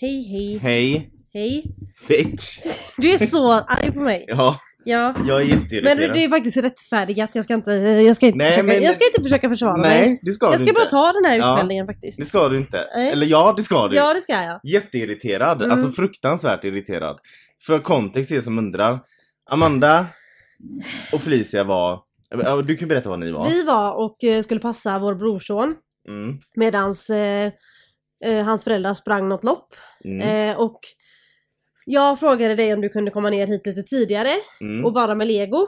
Hej, hej, Hej, hej. bitch. Du är så arg på mig. Ja, Ja. jag är Men jätteirriterad. det är faktiskt rättfärdigat. Jag ska inte, jag ska inte, Nej, försöka, men- jag ska inte försöka försvara mig. Nej, det ska Jag du ska inte. bara ta den här Ja. utskällningen faktiskt. Det ska du inte. Nej. Eller ja, det ska du. Ja, det ska jag. Jätteirriterad. Mm. Alltså fruktansvärt irriterad. För kontext är som undrar. Amanda och Felicia var... ja, Du kan berätta vad ni var. Vi var och eh, skulle passa vår brorson Mm. medans eh, eh, hans föräldrar sprang något lopp. Mm. Eh, och jag frågade dig om du kunde komma ner hit lite tidigare Mm. och vara med Lego,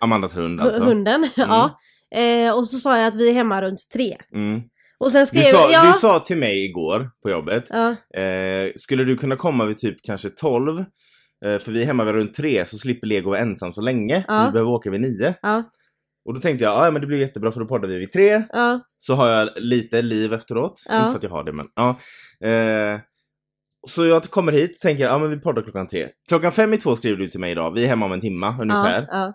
Amandas hund hu- alltså. hunden. ja. Eh, och så sa jag att vi är hemma runt tre. Mm. Och sen Du, skrev sa, jag... du sa till mig igår på jobbet. ja, Eh, skulle du kunna komma vid typ kanske 12? Eh, för vi är hemma vid runt 3 så slipper Lego vara ensam så länge. Ja. Vi behöver åka vid 9. ja, Och då tänkte jag, ja men det blir jättebra för då poddar vi vid 3. ja, Så har jag lite liv efteråt. Ja. Inte för att jag har det men ja. Eh, så jag kommer hit och tänker, ja men vi poddar klockan 3. Klockan 5 i 2 skriver du till mig idag, vi är hemma om en timma ungefär. ja, ja.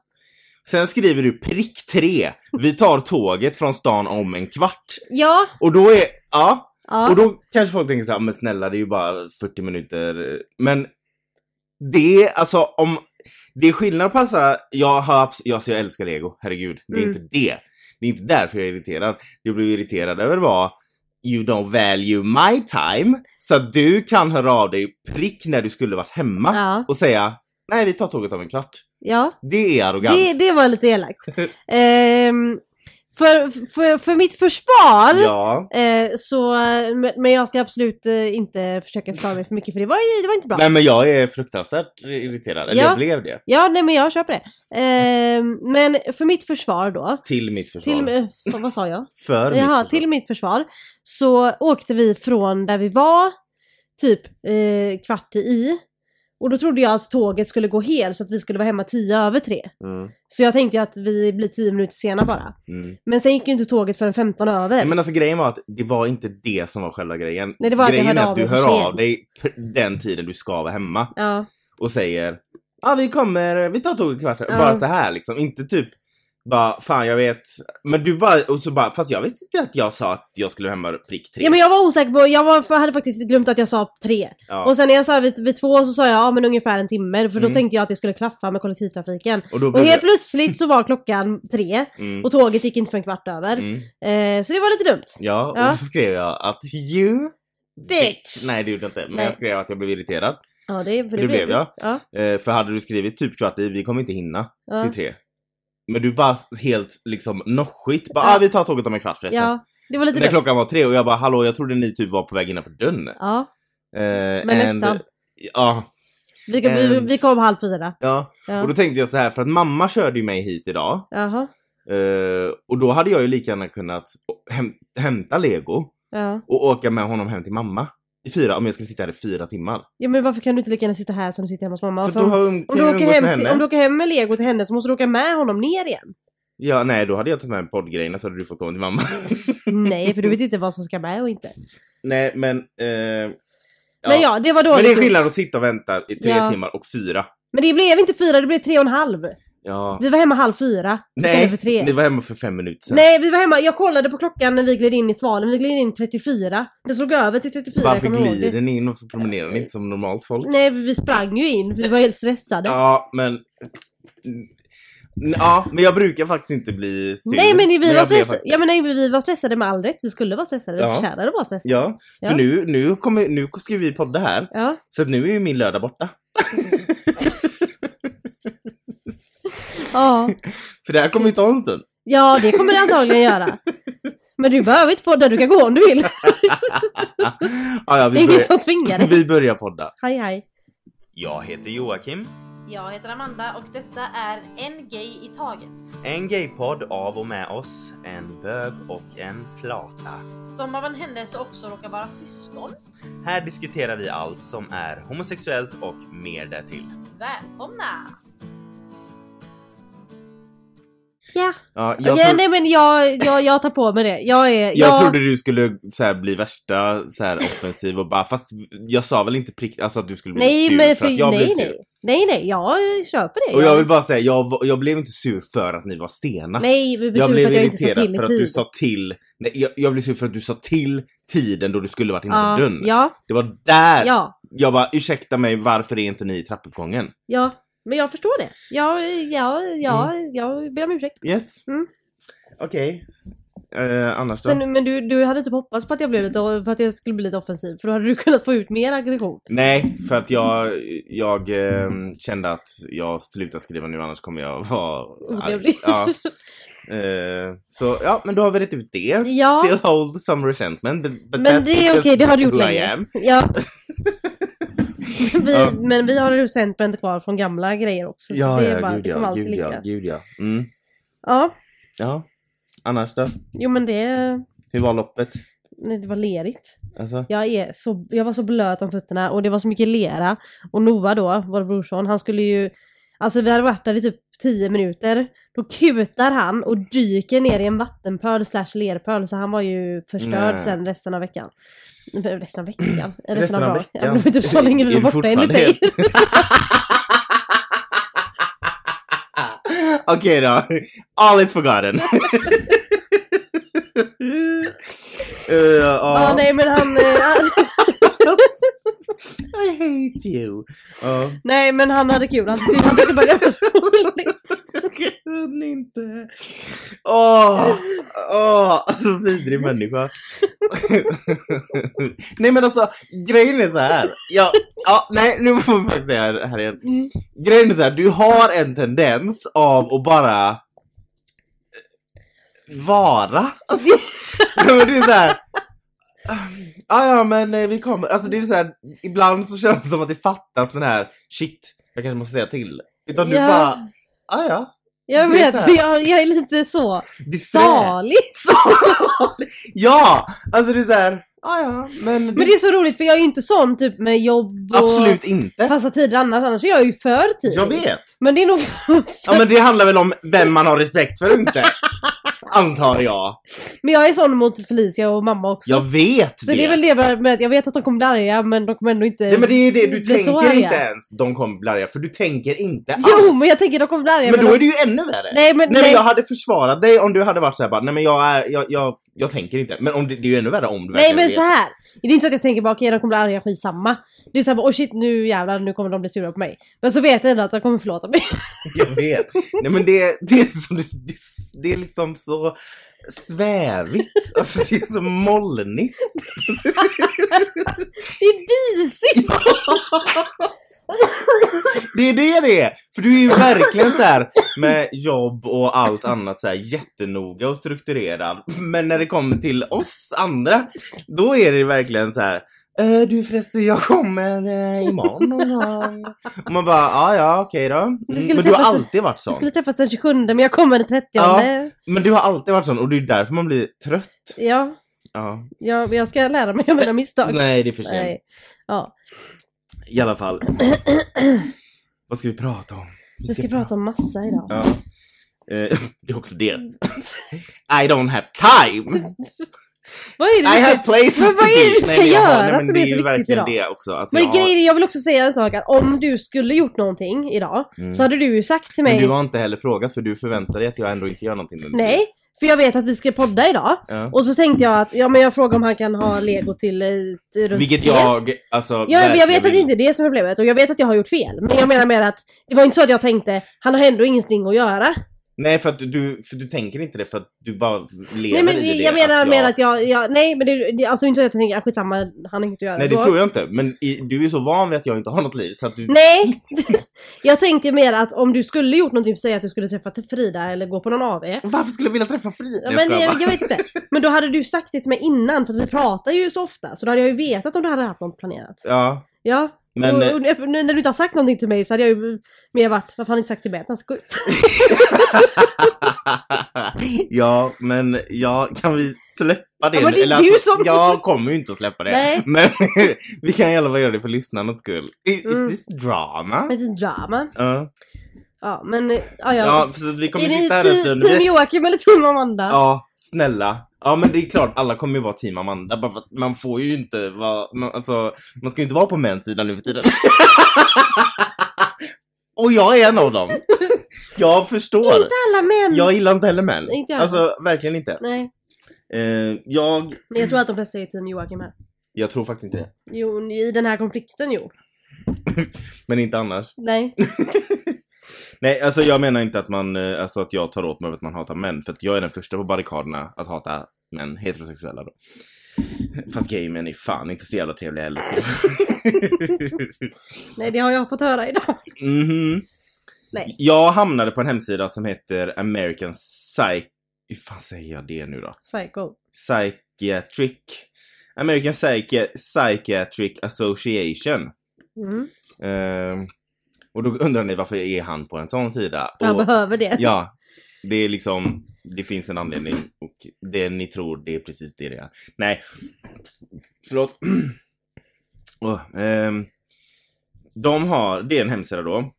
Sen skriver du prick 3, vi tar tåget från stan om en kvart. Ja, Och då är, ja. ja. Och då kanske folk tänker såhär, men snälla det är ju bara 40 minuter. Men det, alltså om, det är skillnad på passa, jag har, abs- jag, alltså, jag älskar lego, herregud. Det är Mm. inte det. Det är inte därför jag är irriterad. Det jag blev irriterad över var You don't value my time. Så att du kan höra av dig prick när du skulle varit hemma ja. och säga Nej vi tar tåget om en kvart. ja. Det är arrogant. Det, det var lite elakt. Ehm, för, för, för mitt försvar, Ja. eh, så, men- men jag ska absolut eh, inte försöka förklara mig för mycket för det var, det var inte bra. Nej men jag är fruktansvärt irriterad. Eller Ja. jag blev det. Ja, nej men jag köper det. Ehm, men för mitt försvar då, Till mitt försvar. till, eh, så, vad sa jag? För mitt Jaha, försvar. till mitt försvar så åkte vi från där vi var typ eh, kvart i och då trodde jag att tåget skulle gå helt så att vi skulle vara hemma tio över tre. Mm. Så jag tänkte ju att vi blir tio minuter sena bara. Mm. Men sen gick ju inte tåget förrän 15 över. Nej, men alltså grejen var att det var inte det som var själva grejen. Nej, det var att jag grejen hörde är av att du mig för hör av sent. dig p- den tiden du ska vara hemma Ja, och säger ja ah, vi kommer, vi tar tåget kvart, Ja. bara så här liksom. Inte typ bara fan jag vet. Men du bara, och så bara, fast jag visste inte att jag sa att jag skulle vara hemma prick tre. ja men jag var osäker på, jag var, för jag hade faktiskt glömt att jag sa tre. Ja. Och sen när jag sa vid, vid två så sa jag ja men ungefär en timme för då Mm. tänkte jag att det skulle klaffa med kollektivtrafiken. Och då Och blev helt plötsligt så var klockan tre det- mm, och tåget gick inte förrän kvart över. mm. Eh, så det var lite dumt. Ja, och Ja. så skrev jag att you Bitch! Nej det gjorde jag inte, men Nej. jag skrev att jag blev irriterad. Ja det, för Det blev du. jag. Ja, Eh, för hade du skrivit typ kvart i, vi kommer inte hinna. ja, till tre. Men du bara s- helt liksom noschigt bara Ja. ah, vi tar tåget om en kvart förresten. ja, det var lite När dumt. klockan var tre och jag bara hallå jag trodde ni typ var på väg innanför dörren. Ja, Eh, men nästan. Ja, Vi, kom- vi, ehm, vi kom halv fyra. ja. Och Ja. då tänkte jag så här för att mamma körde ju mig hit idag. Jaha. Eh, och då hade jag ju lika gärna kunnat häm- hämta lego Ja. och åka med honom hem till mamma. I fyra, om jag skulle sitta här i fyra timmar. ja men varför kan du inte lika gärna sitta här som du sitter hemma hos mamma? för För då om- har, kan Om jag du, åker umgås med hem till, henne. om du åker hem med lego till henne så måste du åka med honom ner igen. Ja, nej då hade jag tagit med poddgrejerna så hade du fått komma till mamma. Nej, för du vet inte vad som ska med och inte. nej men... Eh, ja. Men ja, det var Men dåligt. det är skillnad att sitta och vänta i tre Ja. timmar och fyra. Men det blev inte fyra, det blev tre och en halv. Ja. Vi var hemma halv fyra Nej, istället för tre. ni var hemma för fem minuter sedan. Nej, vi var hemma. Jag kollade på klockan när vi gled in i Svalen. Vi gled in 34. Det slog över till 34. Varför jag kommer ihåg glider det. ni in och promenerar ni inte som normalt folk? Nej, vi sprang ju in. Vi var helt stressade. Ja, men... Mm, Ja, men jag brukar faktiskt inte bli sur. Nej men, vi var jag blev stressade. faktiskt- Ja, men nej, men vi var stressade med all rätt. Vi skulle vara stressade. Vi Ja. förtjänade att vara stressade. Ja, för Ja. Nu, nu, kommer, nu ska vi podda här, Ja. så att nu är ju min lördag borta. ja. För det här kommer ju ta en stund. Ja, det kommer det antagligen göra. Men du behöver inte podda, du kan gå om du vill. ja, ja, Det är vi, ingen som tvingar börjar, dig. vi börjar podda. Hej hej. Jag heter Joakim, Jag heter Amanda och detta är En Gay i Taget. en gaypodd av och med oss, en bög och en flata. Som av en händelse också råkar vara syskon. Här diskuterar vi allt som är homosexuellt och mer därtill. Välkomna! Ja. Ja, Jag jag, tro- nej men jag, jag, jag tar på mig det. Jag är... Jag, jag trodde du skulle så här, bli värsta så här, offensiv och bara, fast jag sa väl inte prick, alltså att du skulle bli Nej sur men för för, att jag blev nej, sur. nej. Nej nej, jag köper det. Och jag vill bara säga, jag, var- jag blev inte sur för att ni var sena. Nej, vi blir jag sur för blev att jag inte sa irriterad till i för att du tid. sa till, nej, jag, jag blev sur för att du sa till tiden då du skulle varit innanför Ja, dörren. ja, Det var där ja, jag bara, ursäkta mig, varför är inte ni i trappuppgången? ja. Men jag förstår det. Ja, ja, ja, Mm. jag ber om ursäkt. Yes. Mm. Okej. Eh, annars då? Sen, men du, du hade typ hoppats på att jag, blev lite, för att jag skulle bli lite offensiv, för då hade du kunnat få ut mer aggression. Nej, för att jag, jag ehm, kände att jag slutar skriva nu annars kommer jag vara arg. Otrevlig. Ja. Eh, så ja, men då har vi rätt ut det. Ja. Still hold some resentment. But, but Men that's det är okej, because det har du gjort who I länge. am. Ja. Men vi, Ja. Men vi har resentment kvar från gamla grejer också. Så Ja, det är ja, bara, gud det kommer ja, alltid gud ja, ligga. gud ja. Mm. Ja, Ja. Annars då? jo men det, Hur var loppet? nej, det var lerigt. Alltså? Jag, är så, jag var så blöt om fötterna och det var så mycket lera. Och Noah då, vår brorson, han skulle ju... Alltså vi hade varit där i typ 10 minuter. Då kutar han och dyker ner i en vattenpöl slash lerpöl. Så han var ju förstörd Nej. sen resten av veckan. Resten av veckan? Resten, av, Resten av dagen. Ja, veckan. men det var typ så länge vi Är var du borta enligt dig. fortfarande Okej då. All is forgotten. Eh, Ja, ja. nej men han... eh, han- I hate you. Ja. nej men han hade kul. Han tyckte han tyckte det var roligt. Jag kan inte. Åh, åh, alltså vidrig människa. nej men alltså, grejen är så här. Ja, ja, nej nu får vi faktiskt säga det här igen. Mm. Grejen är så här, du har en tendens av att bara eh, vara. Alltså, nej, men det är så här. Ah, ja men eh, vi kommer, alltså det är så här, ibland så känns det som att det fattas den här shit, jag kanske måste säga till. Utan du Ja. bara, Ah, ja. Jag Det är vet, så här. men jag, jag är lite så Disträ. salig. Salig. ja! Alltså det är såhär, ah, ja men, Men det är så roligt för jag är ju inte sån typ med jobb och absolut inte. passa tider annars. Annars är jag ju för tidig. Jag vet. Men det är nog... Ja men det handlar väl om vem man har respekt för och inte. Antar jag. men jag är sån mot Felicia och mamma också. Jag vet så det. är väl det bara med att jag vet att de kommer bli arga men de kommer ändå inte Nej men det är det, du bli så tänker arga. inte ens de kommer bli arga, för du tänker inte alls. Jo men jag tänker de kommer bli arga. men då de... är det ju ännu värre. Nej, Nej men, nej, men jag hade försvarat dig om du hade varit såhär bara, nej men jag är, jag, jag, jag tänker inte. Men om det, det är ju ännu värre om du nej men vet. så här. Det är inte så att jag tänker bara okej de kommer bli arga, skitsamma. Det är såhär bara oh shit nu jävlar nu kommer de bli sura på mig. Men så vet jag ändå att de kommer förlåta mig. Jag vet. Nej men det, det, är, som, det, det är liksom så svävigt. Alltså det är så molnigt. Det är disigt! Det är det det är! För du är ju verkligen så här med jobb och allt annat så här jättenoga och strukturerad. Men när det kommer till oss andra, då är det verkligen så här. "Eh, du förresten, jag kommer eh, imorgon och har-" och man bara, ja ja okej då. Mm, Vi skulle Men du har träffas- alltid varit Vi sån. skulle träffas den 27 men jag kommer den 30. Ja. Ja. Men du har alltid varit sån och det är därför man blir trött. ja. Ja. Ja, men jag ska lära mig av mina misstag. Nej det är för sent. Nej. Ja, I alla fall. Vad ska vi prata om? vi ska prata om massa idag. Ja. Eh, det är också det. I don't have time! Vad är det I vi have ska... places Men vad to är det vi be! Nej, ska men jag har- göra nej, men som det är så ju viktigt verkligen idag? Det också. Alltså, Men jag- grejen är, jag vill också säga en sak att om du skulle gjort någonting idag Mm. så hade du ju sagt till Men mig du har inte heller frågat för du förväntar dig att jag ändå inte gör någonting. nu. Nej, för jag vet att vi ska podda idag. Ja. Och så tänkte jag att, ja men jag frågar om han kan ha lego till... eh, till runt Vilket tre. jag, alltså... Ja, men jag verkligen vet att det vill. inte är det som är problemet och jag vet att jag har gjort fel. Men jag menar med att det var inte så att jag tänkte, han har ändå ingenting att göra. Nej, för att du, för du tänker inte det för att du bara Nej lever men i det, det. jag menar att med att jag, jag, nej men det, det alltså inte så att jag tänker, ah, skitsamma, han har inget att göra. Nej, det Då- tror jag inte. Men i, du är så van vid att jag inte har något liv så att du... Nej! Jag tänkte mer att om du skulle gjort någonting, säg att du skulle träffa Frida eller gå på någon AV. Varför skulle jag vilja träffa Frida? Ja, Jag men skojar jag, bara. jag vet inte. Men då hade du sagt det till mig innan, för att vi pratar ju så ofta. Så då hade jag ju vetat om du hade haft något planerat. Ja, Ja. men... och, eh, och, nu när du inte har sagt någonting till mig så hade jag ju mer varit, varför har han inte sagt till mig att han ska ut? ja, men ja, kan vi släppa det? Ja, men det är Eller alltså, du som- Jag kommer ju inte att släppa det. Nej. Men vi kan i alla fall göra det för lyssnarnas skull. Is, Mm. is this drama? Men det är drama. Ja. Ja, men eh, ja, ja. Ja, så vi kommer är ni sitta här en ti- stund. team Vi- Joakim eller team Amanda? Ja, snälla. Ja men det är klart, alla kommer ju vara team Amanda bara för att man får ju inte vara, man, alltså, man ska ju inte vara på mäns sida nu för tiden. Och jag är en av dem. Jag förstår. Inte alla män! Jag gillar inte heller män. Inte jag. Alltså verkligen inte. Nej, Eh, jag, men jag tror att de flesta är team Joakim här. jag tror faktiskt inte det. Jo, i den här konflikten jo. Men inte annars. Nej. Nej, alltså jag menar inte att man, eh, alltså att jag tar åt mig av att man hatar män. För att jag är den första på barrikaderna att hata män, heterosexuella då. Fast gaymän är fan inte så jävla trevliga heller. ska jag- Nej, det har jag fått höra idag. Mhm. Nej. Jag hamnade på en hemsida som heter American Psych... Hur fan säger jag det nu då? Psycho. Psychiatric. American Psychi- Psychiatric Association. Mm. Ehm, och då undrar ni varför är han på en sån sida? För han Och- behöver det. Ja, det är liksom, det finns en anledning och det ni tror, det är precis det det är. Nej, förlåt. Åh, ehm, de har, det är en hemsida då.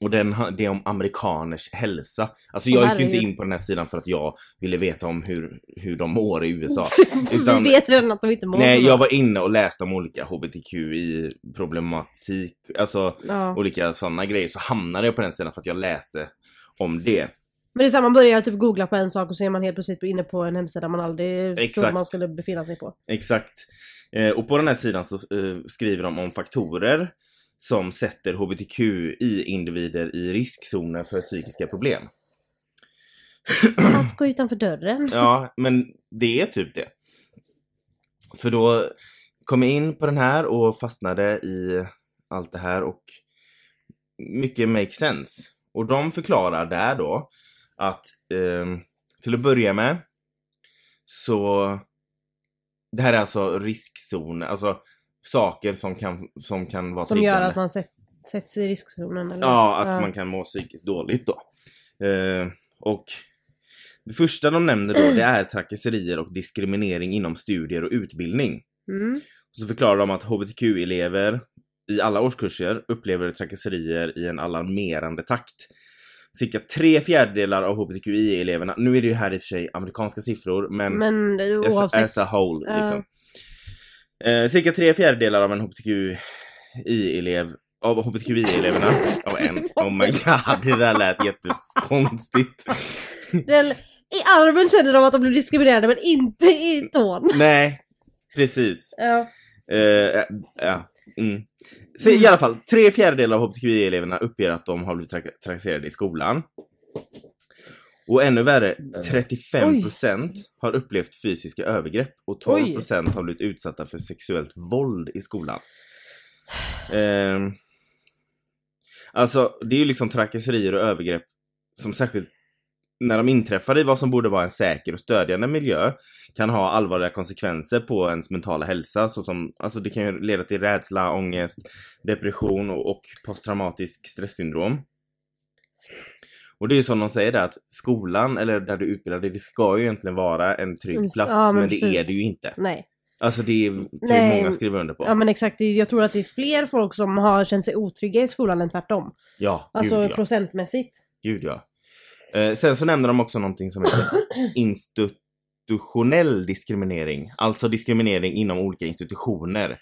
Och den, har- det är om amerikaners hälsa. Alltså Åh, jag gick ju inte herregud. in på den här sidan för att jag ville veta om hur, hur de mår i USA. Utan- Vi vet redan att de inte mår Nej, så bra. jag var inne och läste om olika hbtqi-problematik. Alltså Ja. olika sådana grejer. Så hamnade jag på den sidan för att jag läste om det. Men det är samma, man börjar typ googla på en sak och så är man helt plötsligt inne på en hemsida man aldrig trodde Exakt. man skulle befinna sig på. Exakt. Eh, och på den här sidan så eh, skriver de om faktorer som sätter hbtqi-individer i riskzonen för psykiska problem. Att gå utanför dörren. Ja, men det är typ det. För då kom jag in på den här och fastnade i allt det här och mycket makes sense. Och de förklarar där då att ehm, till att börja med så det här är alltså riskzoner, alltså saker som kan, som kan vara Som gör triggande. att man sätt, sätts i riskzonen. Eller? Ja, att man kan må psykiskt dåligt då. Eh, och det första de nämner då, det är trakasserier och diskriminering inom studier och utbildning. Mm. Så förklarar de att hbtq-elever i alla årskurser upplever trakasserier i en alarmerande takt. Cirka tre fjärdedelar av hbtqi-eleverna, nu är det ju här i och för sig amerikanska siffror, men Men as, oavsett. as a whole. Ja. Liksom. Eh, cirka tre fjärdedelar av en hbtqi-elev av hbtqi-eleverna, av en, oh my god, det där lät jättekonstigt. eh. Den, I armen känner de att de blev diskriminerade men inte i tån. Nej, precis. Ja. Eh, eh, ja. mm. Så I alla fall, tre fjärdedelar av hbtqi-eleverna uppger att de har blivit trak- trakasserade i skolan. Och ännu värre, 35% har upplevt fysiska övergrepp och 12% har blivit utsatta för sexuellt våld i skolan. Ehm, alltså, det är ju liksom trakasserier och övergrepp som särskilt när de inträffar i vad som borde vara en säker och stödjande miljö kan ha allvarliga konsekvenser på ens mentala hälsa såsom, alltså det kan ju leda till rädsla, ångest, depression och, och posttraumatisk stresssyndrom. Och det är ju som de säger där att skolan eller där du utbildar dig, det ska ju egentligen vara en Mm, trygg plats ja, men men, det är precis. det ju inte. Nej. Alltså det är Nej, det många skriver under på. Ja men exakt, Det är- jag tror att det är fler folk som har känt sig otrygga i skolan än tvärtom. ja, Alltså gud ja. procentmässigt. Gud ja. Eh, sen så nämner de också någonting som heter institutionell diskriminering. Alltså diskriminering inom olika institutioner.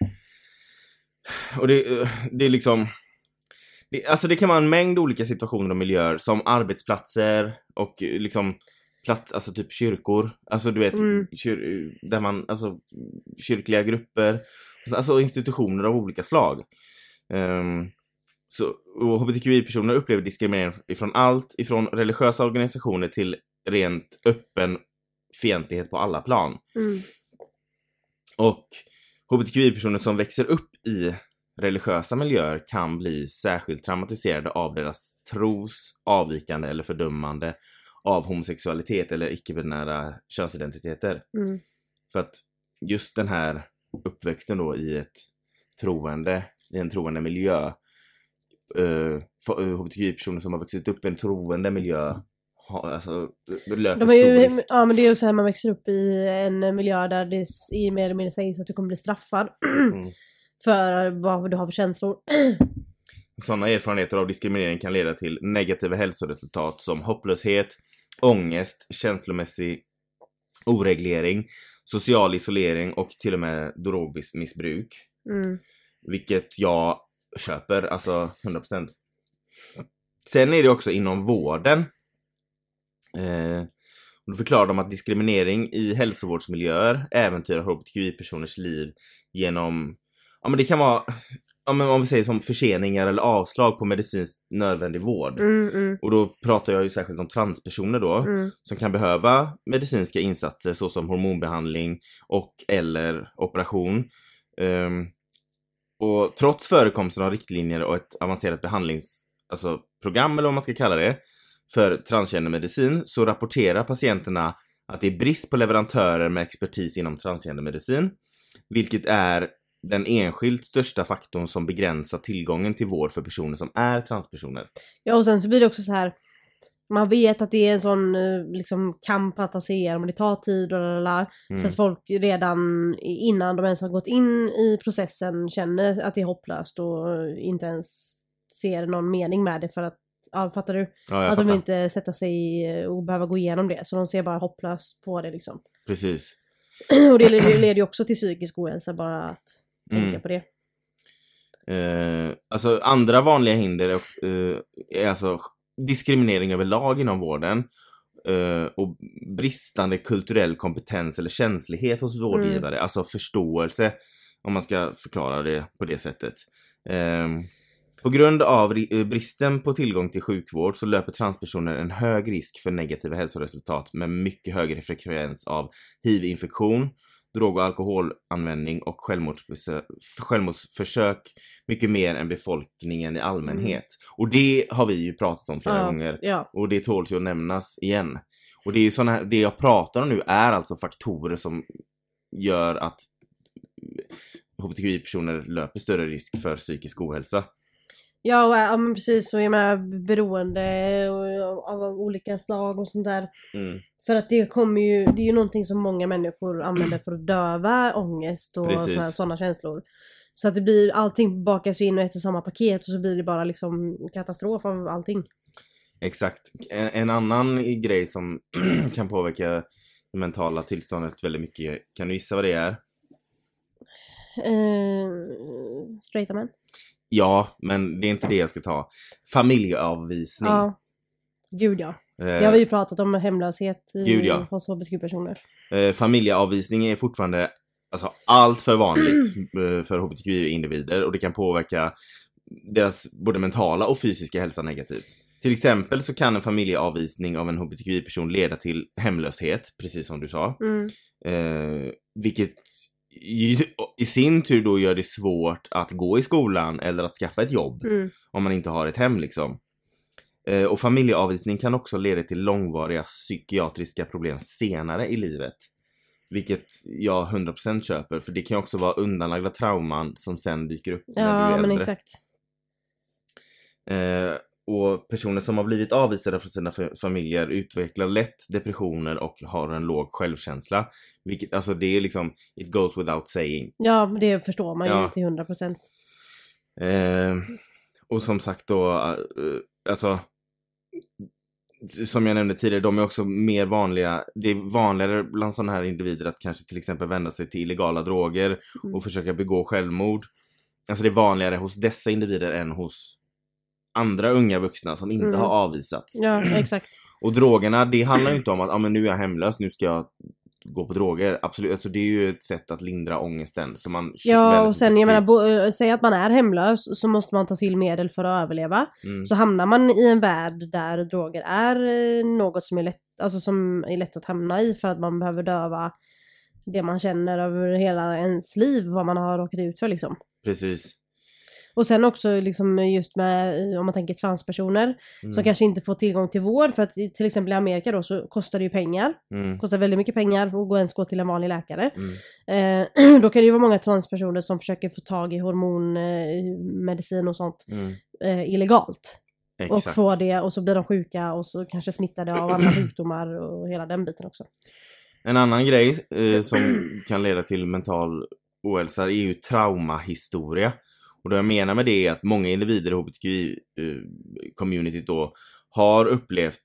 Och det, eh, det är liksom... Det, alltså det kan vara en mängd olika situationer och miljöer som arbetsplatser och eh, liksom plats, alltså typ kyrkor. Alltså du vet, Mm. kyr, där man, alltså kyrkliga grupper. Alltså institutioner av olika slag. Ehm, så, och hbtqi-personer upplever diskriminering ifrån allt, ifrån religiösa organisationer till rent öppen fientlighet på alla plan. Mm. Och hbtqi-personer som växer upp i religiösa miljöer kan bli särskilt traumatiserade av deras tros, avvikande eller fördömande av homosexualitet eller icke-binära könsidentiteter. Mm. För att just den här uppväxten då i ett troende, i en troende miljö. eh, för eh, hbtqi-personer som har vuxit upp i en troende miljö har, alltså, eh, löper De är stor ju, risk. ja men det är ju också här man växer upp i en miljö där det är mer eller mindre sägs att du kommer bli straffad. Mm. För vad du har för känslor. Sådana erfarenheter av diskriminering kan leda till negativa hälsoresultat som hopplöshet, ångest, känslomässig oreglering, social isolering och till och med drogmissbruk. Mm. Vilket jag köper, alltså 100%. Sen är det också inom vården. Eh, och då förklarar de att diskriminering i hälsovårdsmiljöer äventyrar hbtqi-personers liv genom, ja men det kan vara, ja men om vi säger som förseningar eller avslag på medicinskt nödvändig vård. Mm, mm, Och då pratar jag ju särskilt om transpersoner då mm. som kan behöva medicinska insatser såsom hormonbehandling och eller operation. Ehm, och trots förekomsten av riktlinjer och ett avancerat behandlings, alltså program eller vad man ska kalla det, för transgendermedicin så rapporterar patienterna att det är brist på leverantörer med expertis inom transgendermedicin, vilket är den enskilt största faktorn som begränsar tillgången till vård för personer som är transpersoner. Ja och sen så blir det också så här. Man vet att det är en sån eh, liksom, kamp att ta sig igenom och det tar tid och lalala, Så Mm. att folk redan innan de ens har gått in i processen känner att det är hopplöst och eh, inte ens ser någon mening med det för att, ja fattar du? Ja, jag att de fattar. inte sätter sig i eh, och behöver gå igenom det. Så de ser bara hopplöst på det liksom. Precis. Och det leder leder ju också till psykisk ohälsa bara att tänka Mm. på det. Eh, alltså andra vanliga hinder är, också, eh, är alltså diskriminering överlag inom vården eh, och bristande kulturell kompetens eller känslighet hos vårdgivare. Alltså förståelse, om man ska förklara det på det sättet. Ehm, på grund av ri- eh, bristen på tillgång till sjukvård så löper transpersoner en hög risk för negativa hälsoresultat med mycket högre frekvens av hiv-infektion, drog och alkoholanvändning och självmordsbesö- självmordsförsök mycket mer än befolkningen i allmänhet. Och det har vi ju pratat om flera Ja. gånger Ja. och det tåls ju att nämnas igen. Och det är ju såna här, det jag pratar om nu är alltså faktorer som gör att eh, hbtqi-personer löper större risk för psykisk ohälsa. Ja, och, eh, ja men precis och jag menar beroende och, av olika slag och sånt där. Mm, För att det kommer ju, det är ju någonting som många människor använder för att döva ångest och Precis. sådana såna känslor. Så att det blir, allting bakas ju in i ett och samma paket och så blir det bara liksom katastrof av allting. exakt. En, en annan grej som kan påverka det mentala tillståndet väldigt mycket, kan du gissa vad det är? Eh, straighta män. Ja, men det är inte det jag ska ta. Familjeavvisning. Ja. Gud ja. Eh, Det har vi ju pratat om hemlöshet i, Gud, ja. hos hbtq-personer. Eh, familjeavvisning är fortfarande alltså, allt för vanligt eh, för hbtqi-individer och det kan påverka deras både mentala och fysiska hälsa negativt. Till exempel så kan en familjeavvisning av en hbtqi-person leda till hemlöshet, precis som du sa. Mm. Eh, vilket i, i sin tur då gör det svårt att gå i skolan eller att skaffa ett jobb Mm. om man inte har ett hem liksom. Eh, och familjeavvisning kan också leda till långvariga psykiatriska problem senare i livet. Vilket jag 100% köper, för det kan ju också vara undanlagda trauman som sen dyker upp när du är Ja men äldre. exakt. Eh, och personer som har blivit avvisade från sina fa- familjer utvecklar lätt depressioner och har en låg självkänsla. Vilket, alltså det är liksom, it goes without saying. Ja men det förstår man ju Ja. till 100 procent. Eh, och som sagt då, eh, alltså som jag nämnde tidigare, de är också mer vanliga. Det är vanligare bland sådana här individer att kanske till exempel vända sig till illegala droger Mm. och försöka begå självmord. Alltså det är vanligare hos dessa individer än hos andra unga vuxna som inte Mm. har avvisats. Ja exakt. Och drogerna, det handlar ju inte om att ah, men nu är jag hemlös, nu ska jag gå på droger. Absolut, alltså det är ju ett sätt att lindra ångesten. Så man Ja väljer och sig sen jag till- menar, bo, eh, säg att man är hemlös så måste man ta till medel för att överleva. Mm. Så hamnar man i en värld där droger är eh, något som är lätt, alltså som är lätt att hamna i för att man behöver döva det man känner över hela ens liv, vad man har råkat ut för liksom. Precis. Och sen också liksom just med, eh, om man tänker transpersoner, Mm. som kanske inte får tillgång till vård för att i- till exempel i Amerika då så kostar det ju pengar. Mm. kostar väldigt mycket pengar för att gå ens gå till en vanlig läkare. Mm. Eh, då kan det ju vara många transpersoner som försöker få tag i hormonmedicin och sånt Mm. eh, illegalt. Exakt. Och får det och så blir de sjuka och så kanske smittade av andra sjukdomar och hela den biten också. En annan grej eh, som kan leda till mental ohälsa är ju traumahistoria. Och det jag menar med det är att många individer i hbtqi-communityt eh, då har upplevt,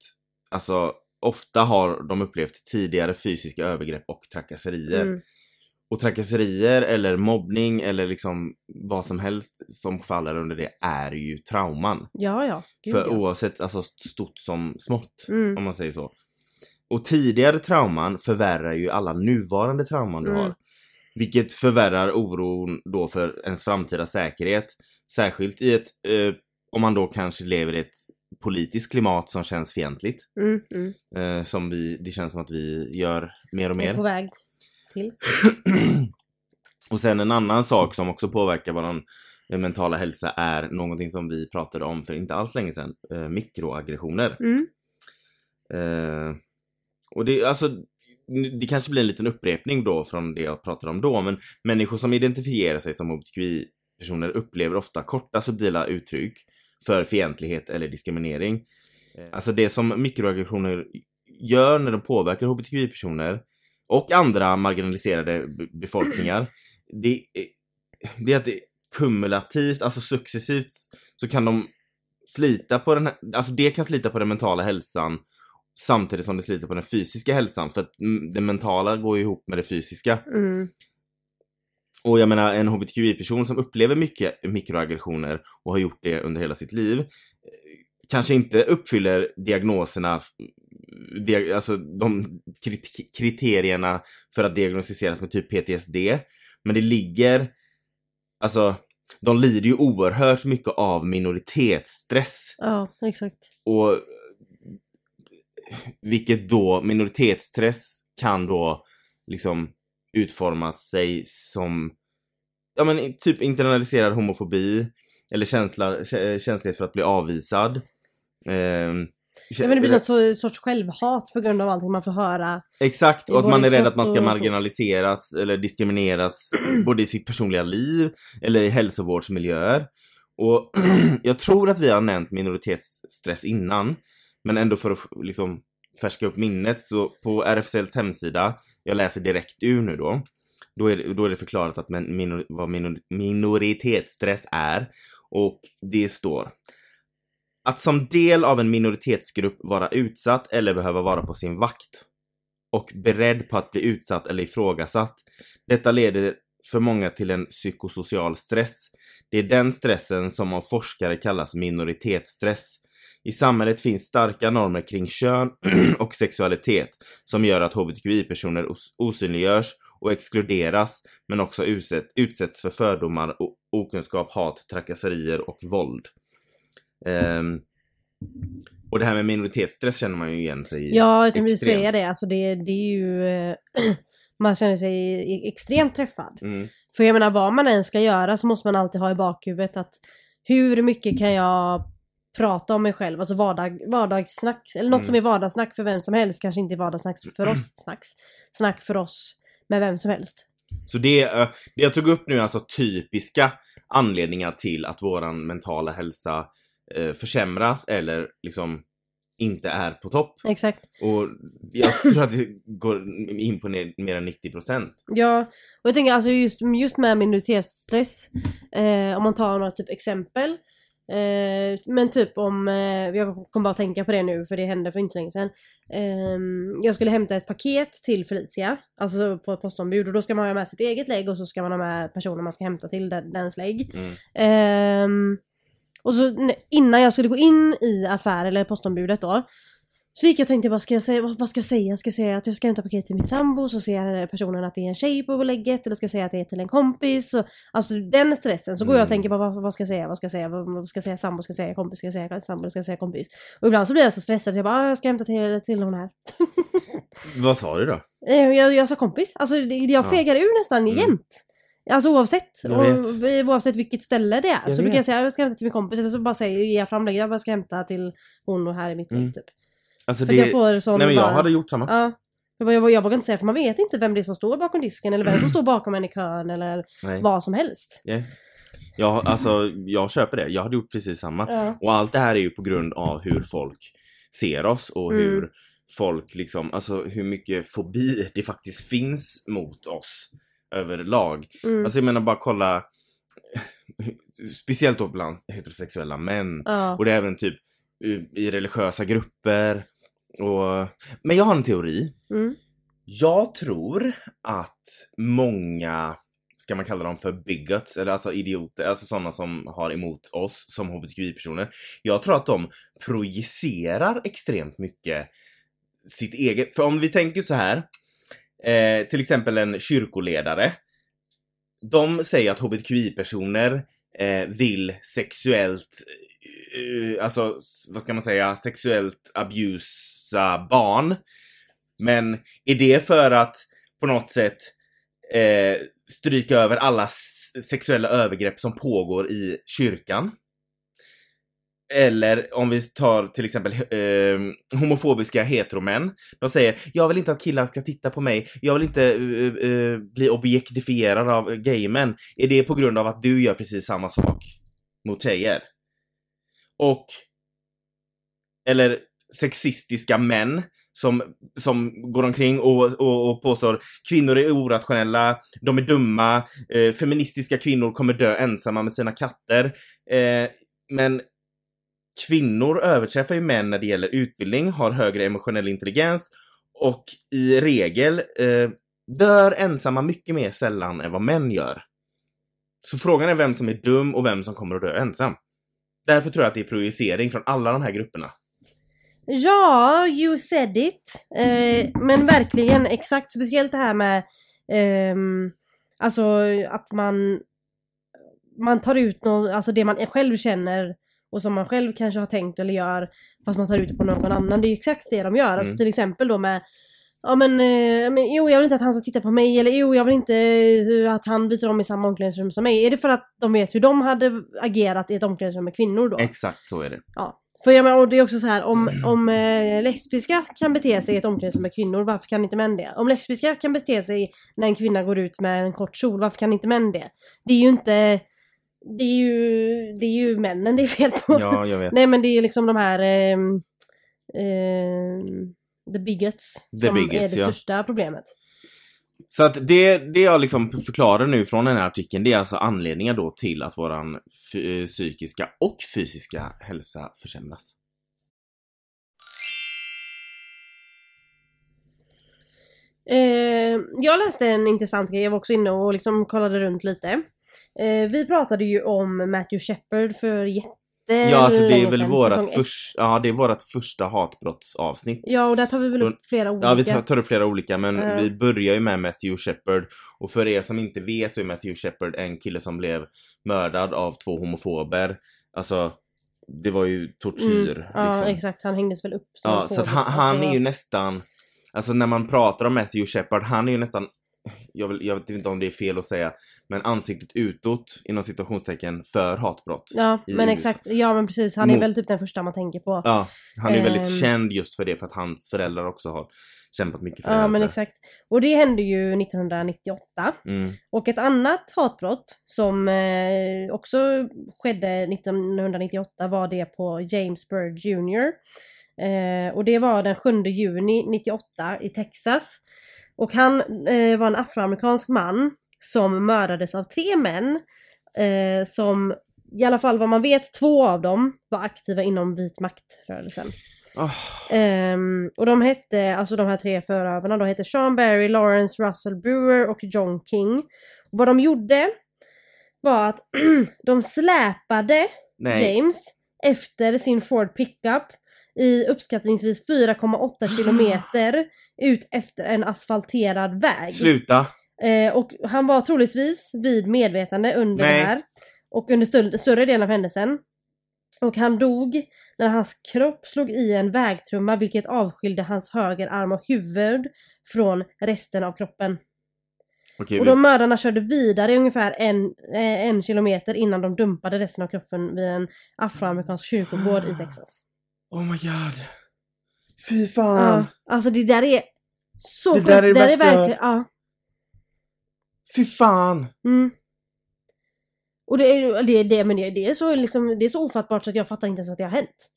alltså ofta har de upplevt tidigare fysiska övergrepp och trakasserier. Mm. Och trakasserier eller mobbning eller liksom vad som helst som faller under det är ju trauman. Ja, ja. Gud, För ja. oavsett alltså st- stort som smått Mm. om man säger så. Och tidigare trauman förvärrar ju alla nuvarande trauman du Mm. har. Vilket förvärrar oron då för ens framtida säkerhet. Särskilt i ett, eh, om man då kanske lever i ett politiskt klimat som känns fientligt. Mm, mm. Eh, som vi, det känns som att vi gör mer och Jag är På mer. väg till. och sen en annan sak som också påverkar vår eh, mentala hälsa är någonting som vi pratade om för inte alls länge sedan. Eh, mikroaggressioner. Mm. Eh, och det, alltså, det kanske blir en liten upprepning då från det jag pratade om då, men människor som identifierar sig som hbtqi-personer upplever ofta korta subtila uttryck för fientlighet eller diskriminering. Eh, Alltså det som mikroaggressioner gör när de påverkar hbtqi-personer och andra marginaliserade be- befolkningar, det, eh, det är att det kumulativt, alltså successivt, så kan de slita på den här, alltså det kan slita på den mentala hälsan samtidigt som det sliter på den fysiska hälsan. För att mm, det mentala går ju ihop med det fysiska. Mm. Och jag menar en hbtqi-person som upplever mycket mikroaggressioner och har gjort det under hela sitt liv eh, kanske inte uppfyller diagnoserna, eh, dia- alltså de krit- kriterierna för att diagnostiseras med typ PTSD. Men det ligger, alltså de lider ju oerhört mycket av minoritetsstress. Ja, exakt. Och vilket då minoritetsstress kan då liksom utforma sig som ja men typ internaliserad homofobi eller känsla, kä- känslighet för att bli avvisad. Ehm, Ja, men det blir något så, sorts självhat på grund av allting man får höra. Exakt, Det och att var man är liksom rädd att man ska något- marginaliseras eller diskrimineras både i sitt personliga liv eller i hälsovårdsmiljöer. Och jag tror att vi har nämnt minoritetsstress innan, men ändå för att f- liksom färska upp minnet så på RFSLs hemsida, jag läser direkt ur nu då, då är det, då är det förklarat att men, minor, vad minor, minoritetsstress är och det står att som del av en minoritetsgrupp vara utsatt eller behöva vara på sin vakt och beredd på att bli utsatt eller ifrågasatt. Detta leder för många till en psykosocial stress. Det är den stressen som av forskare kallas minoritetsstress. I samhället finns starka normer kring kön och sexualitet som gör att hbtqi-personer os- osynliggörs och exkluderas men också utsätt, utsätts för fördomar, o- okunskap, hat, trakasserier och våld. Ehm, och det här med minoritetsstress känner man ju igen sig i. Ja, jag tänkte extremt. säga det. Alltså det, det är ju... eh, man känner sig e- extremt träffad. Mm. För jag menar, vad man än ska göra så måste man alltid ha i bakhuvudet att hur mycket kan jag prata om mig själv? Alltså vardag, vardagssnack, eller något Mm. som är vardagssnack för vem som helst. Kanske inte vardagssnack för oss, snacks. Snack för oss med vem som helst. Så det, eh, det jag tog upp nu är alltså typiska anledningar till att våran mentala hälsa eh, försämras eller liksom inte är på topp. Exakt. Och jag tror att det går in på ner, mer än 90%. Ja, och jag tänker alltså just, just med minoritetsstress, eh, om man tar några typ exempel. Eh, men typ om, eh, jag kom bara att tänka på det nu för det hände för inte så länge sedan. Ehm, jag skulle hämta ett paket till Felicia, alltså på ett postombud och då ska man ha med sitt eget lägg och så ska man ha med personen man ska hämta till den, dens lägg. Mm. Ehm, och så n- innan jag skulle gå in i affär eller postombudet då. Så gick jag och tänkte bara, ska jag säga, vad, vad ska jag säga? Ska jag säga att jag ska hämta paket till min sambo? Så ser personen att det är en tjej på lägget. Eller ska jag säga att det är till en kompis? Och, alltså den stressen. Så går jag och Mm. tänker bara, vad, vad ska jag säga? Vad ska jag säga? Vad, vad ska jag säga? Sambo ska jag säga? Kompis ska jag säga? Sambo ska jag säga? Kompis? Och ibland så blir jag så stressad. att Jag bara, ah, jag ska hämta till, till hon här. Vad sa du då? Eh, Jag, jag sa kompis. Alltså det- jag Ja. fegar ur nästan Mm. jämt. Alltså oavsett. Jag vet. Och, oavsett vilket ställe det är. Jag så brukar vet. jag säga jag ska hämta till min kompis. Eller så bara säger ger jag fram det. Jag bara ska hämta till hon och här är mitt Mm. mm. typ. Alltså För att jag det, får sån nej men bara- jag hade gjort samma. Ja. Jag, bara, jag, jag vågar inte säga för man vet inte vem det är som står bakom disken. Eller vem som står bakom en i kön. Eller Nej. vad som helst. Ja. Jag, alltså, jag köper det. Jag hade gjort precis samma. Ja. Och allt det här är ju på grund av hur folk ser oss och Mm. hur folk liksom, alltså hur mycket fobi det faktiskt finns mot oss överlag. Mm. Alltså jag menar bara kolla speciellt då bland heterosexuella män. Ja. Och det är även typ i- i religiösa grupper. Och... Men jag har en teori. Mm. Jag tror att många, ska man kalla dem för bigots, eller alltså idioter, alltså sådana som har emot oss som hbtqi-personer. Jag tror att de projicerar extremt mycket sitt eget. För om vi tänker så här, eh, till exempel en kyrkoledare. De säger att hbtqi-personer eh, vill sexuellt, eh, alltså s- vad ska man säga, sexuellt abusa barn. Men är det för att på något sätt eh, stryka över alla s- sexuella övergrepp som pågår i kyrkan? Eller om vi tar till exempel eh, homofobiska heteromän. De säger “Jag vill inte att killar ska titta på mig, jag vill inte eh, eh, bli objektifierad av gaymän”. Är det på grund av att du gör precis samma sak mot tjejer? Och... Eller sexistiska män som, som går omkring och, och, och påstår kvinnor är orationella, de är dumma, eh, feministiska kvinnor kommer dö ensamma med sina katter. Eh, men kvinnor överträffar ju män när det gäller utbildning, har högre emotionell intelligens och i regel eh, dör ensamma mycket mer sällan än vad män gör. Så frågan är vem som är dum och vem som kommer att dö ensam. Därför tror jag att det är projicering från alla de här grupperna. Ja, you said it. Eh, men verkligen exakt, speciellt det här med ehm, alltså att man man tar ut någon, alltså det man själv känner och som man själv kanske har tänkt eller gör fast man tar ut det på någon annan. Det är ju exakt det de gör. Alltså Mm. till exempel då med Ja men, eh, men jo jag vill inte att han ska titta på mig eller jo jag vill inte eh, att han byter om i samma omklädningsrum som mig. Är det för att de vet hur de hade agerat i ett omklädningsrum med kvinnor då? Exakt så är det. Ja. För jag menar, och det är också så här, om, Mm. om eh, lesbiska kan bete sig i ett omklädningsrum med kvinnor, varför kan inte män det? Om lesbiska kan bete sig när en kvinna går ut med en kort kjol, varför kan inte män det? Det är ju inte... Det är ju, det är ju männen det är fel på. Ja, jag vet. Nej men det är ju liksom de här... ehm, ehm, the bigots. The som är bigots, det ja. största problemet. Så att det, det jag liksom förklarar nu från den här artikeln, det är alltså anledningar då till att våran fy- eh, psykiska och fysiska hälsa försämras. Eh, jag läste en intressant grej, jag var också inne och liksom kollade runt lite. Eh, vi pratade ju om Matthew Shepard för jättelänge Ja, alltså det är väl sedan, vårat, säsong ett. förs- ja, det är vårat första hatbrottsavsnitt. Ja, och där tar vi väl upp flera olika. Ja, vi tar, tar upp flera olika, men Ja. vi börjar ju med Matthew Shepard. Och för er som inte vet hur Matthew Shepard är en kille som blev mördad av två homofober. Alltså, det var ju tortyr. Mm, ja, liksom. exakt. Han hängdes väl upp. som Ja, en så fågel, att han, alltså, han är ju nästan, alltså när man pratar om Matthew Shepard, han är ju nästan, jag, vill, jag vet inte om det är fel att säga, men ansiktet utåt inom citationstecken för hatbrott. Ja, Ja, i liksom. men USA. exakt. Ja, men precis. Han är Mot- väl typ den första man tänker på. han är ju väldigt Ehm. känd just för det, för att hans föräldrar också har kämpat mycket för det. Ja, här, men så. exakt. Och det hände ju 1998. Mm. Och ett annat hatbrott som eh, också skedde 1998 var det på James Byrd Jr. Eh, och det var den 7 juni 98 i Texas. Och han eh, var en afroamerikansk man som mördades av tre män eh, som i alla fall vad man vet, två av dem var aktiva inom vit makt-rörelsen. Ah, Ehm, och de hette, alltså de här tre förövarna då hette Sean Barry, Lawrence Russell Brewer och John King. Vad de gjorde var att de släpade nej. James efter sin Ford pickup i uppskattningsvis Ah. 4,8 kilometer ut efter en asfalterad väg. Sluta! Eh, och han var troligtvis vid medvetande under Nej. det här. Och under stö- större delen av händelsen. Och han dog när hans kropp slog i en vägtrumma vilket avskilde hans högerarm och huvud från resten av kroppen. Okej, Och de mördarna körde vidare ungefär en, eh, en kilometer innan de dumpade resten av kroppen vid en afroamerikansk kyrkogård i Texas. vi... Oh my god. Fy fan. Ja, alltså det där är så Det sjukt. där är det det värsta- verkligen, ja. Fy fan. Mm. Och det är ju- det, är det, men det, det, är så liksom, det är så ofattbart så att jag fattar inte ens att det har hänt.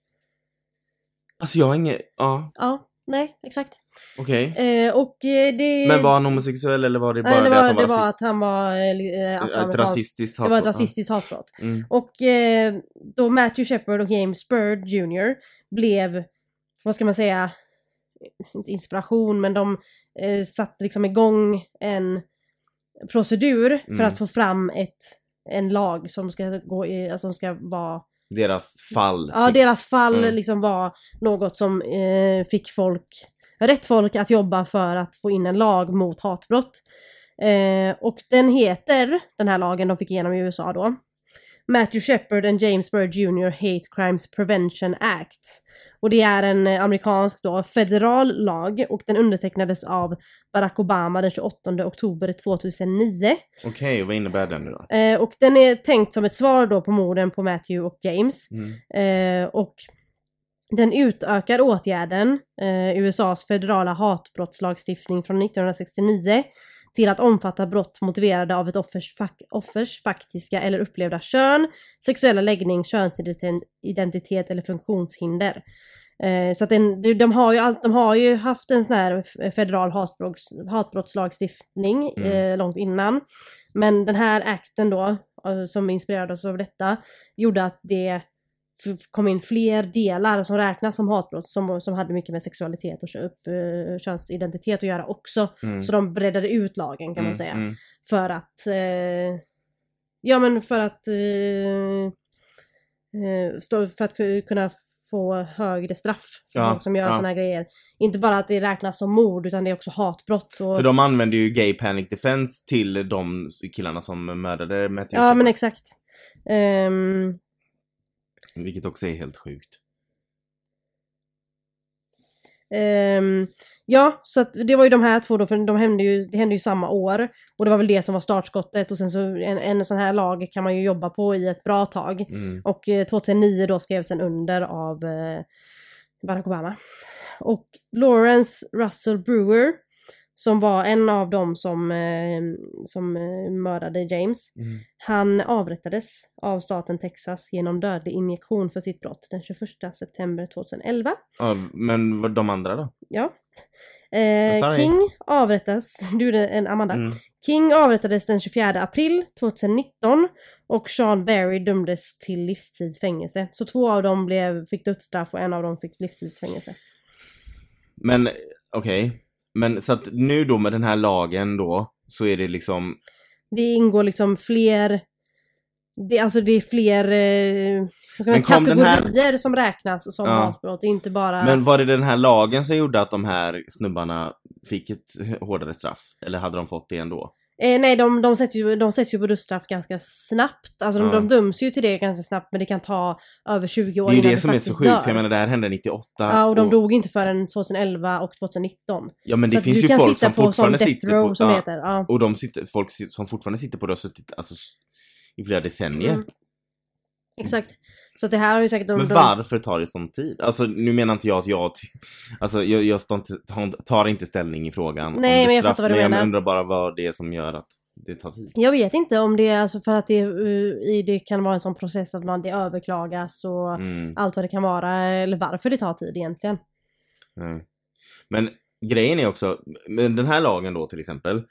Alltså jag har inget, ja. Ja. nej, exakt. Okej. Eh, och eh, det... Men var han homosexuell eller var det bara nej, det var, att han det var, var rasist, att han var eh, li- eh, ett afroamerikansk. rasistiskt Det var ett hatbrott? rasistiskt hatbrott. Ja. Mm. Och eh, då Matthew Shepard och James Byrd Jr. blev, vad ska man säga, inte inspiration, men de eh, satte liksom igång en procedur för Mm. att få fram ett, en lag som ska, gå i, alltså, som ska vara, Deras fall. ja fick- deras fall Mm. liksom var något som eh, fick folk, rätt folk att jobba för att få in en lag mot hatbrott. Eh, och den heter, den här lagen de fick igenom i USA då, Matthew Shepard and James Byrd Jr. Hate Crimes Prevention Act. Och det är en eh, amerikansk då, federal lag och den undertecknades av Barack Obama den 28 oktober 2009. Okej, vad innebär den nu då? Eh, och den är tänkt som ett svar då på morden på Matthew och James. Mm. Eh, och den utökar åtgärden, eh, USAs federala hatbrottslagstiftning från 1969, till att omfatta brott motiverade av ett offers, fak- offers faktiska eller upplevda kön, sexuella läggning, könsidentitet eller funktionshinder. Eh, så att den, de, de, har ju allt, de har ju haft en sån här f- federal hatbrotts, hatbrottslagstiftning Mm. eh, långt innan. Men den här akten då, eh, som inspirerades av detta, gjorde att det f- kom in fler delar som räknas som hatbrott som, som hade mycket med sexualitet och kö- upp, eh, könsidentitet att göra också. Mm. Så de breddade ut lagen kan man Mm, säga. mm. För att... Eh, ja men för att... Eh, eh, stå, för att ku- kunna få högre straff för Ja, folk som gör ja. såna här grejer. Inte bara att det räknas som mord utan det är också hatbrott. Och, För de använde ju gay panic defense till de killarna som mördade Matthew ja Shepard, men exakt. Ehm, Vilket också är helt sjukt. Ehm, ja, så att det var ju de här två då, för de hände ju, det hände ju samma år. Och det var väl det som var startskottet. Och sen så en, en sån här lag kan man ju jobba på i ett bra tag. Mm. Och eh, 2009 då skrevs den under av eh, Barack Obama. Och Lawrence Russell Brewer, som var en av dem som, eh, som eh, mördade James, Mm. han avrättades av staten Texas genom dödlig injektion för sitt brott den 21 september 2011. Ja, men vad- de andra då? Ja. sorry. Eh, King avrättas, du det är en Amanda. Mm. King avrättades den 24 april 2019 och Sean Barry dömdes till livstidsfängelse. Så två av dem blev, fick dödsstraff och en av dem fick livstidsfängelse. Men okej. Men så att nu då med den här lagen då så är det liksom, Det ingår liksom fler det, alltså det är fler eh, vad ska man, Men kom den här- kategorier som räknas som Ja. hatbrott, inte bara... men var det den här lagen som gjorde att de här snubbarna fick ett hårdare straff? Eller hade de fått det ändå? Eh, nej, de, de, sätts ju, de sätts ju på dödsstraff ganska snabbt. Alltså de, Ja. de döms ju till det ganska snabbt men det kan ta över 20 år Det är ju innan det som är så faktiskt sjukt, dör. för jag menar det här hände 98. Ja, och de dog inte förrän 2011 och 2019. Ja men det så att finns du ju kan folk sitta som på sån fortfarande death sitter row på... som ja, det heter. Ja. Och de sitter, folk sit- som fortfarande sitter på det har suttit alltså, s- i flera decennier. Mm. Exakt. Så att det här har ju säkert... de- Men de- varför tar det sån tid? Alltså nu menar inte jag att jag, ty- alltså jag, jag står inte, tar- tar inte ställning i frågan om Nej, det men jag straff, fattar vad du men menar. jag undrar bara vad det är som gör att det tar tid. Jag vet inte om det är alltså för att det, eh, i- det kan vara en sån process att man, det överklagas och Mm, allt vad det kan vara. Eller varför det tar tid egentligen. nej. mm. Men grejen är också, men den här lagen då till exempel,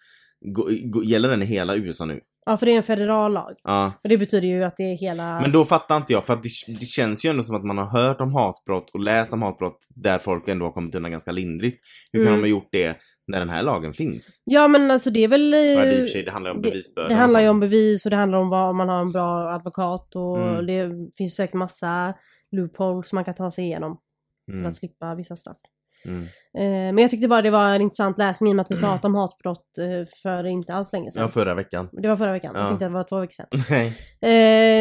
gå- gå- gäller den i hela USA nu? Ja, för det är en federal lag. Ja. Och det betyder ju att det är hela... Men då fattar inte jag, för att det, det känns ju ändå som att man har hört om hatbrott och läst om hatbrott där folk ändå har kommit undan ganska lindrigt. Hur kan Mm. de ha gjort det när den här lagen finns? Ja, men alltså det är väl... eh, Ja, det, i och för sig, det handlar ju om bevisbördan. Det handlar ju om bevis och det handlar om vad, om man har en bra advokat och Mm. det finns säkert massa loopholes som man kan ta sig igenom för Mm, att slippa vissa straff. mm. Eh, men jag tyckte bara det var en intressant läsning i och med att vi pratade om hatbrott eh, för inte alls länge sedan. Ja, förra veckan. Det var förra veckan, Ja. jag tänkte att det var två veckor sedan. Nej. Eh,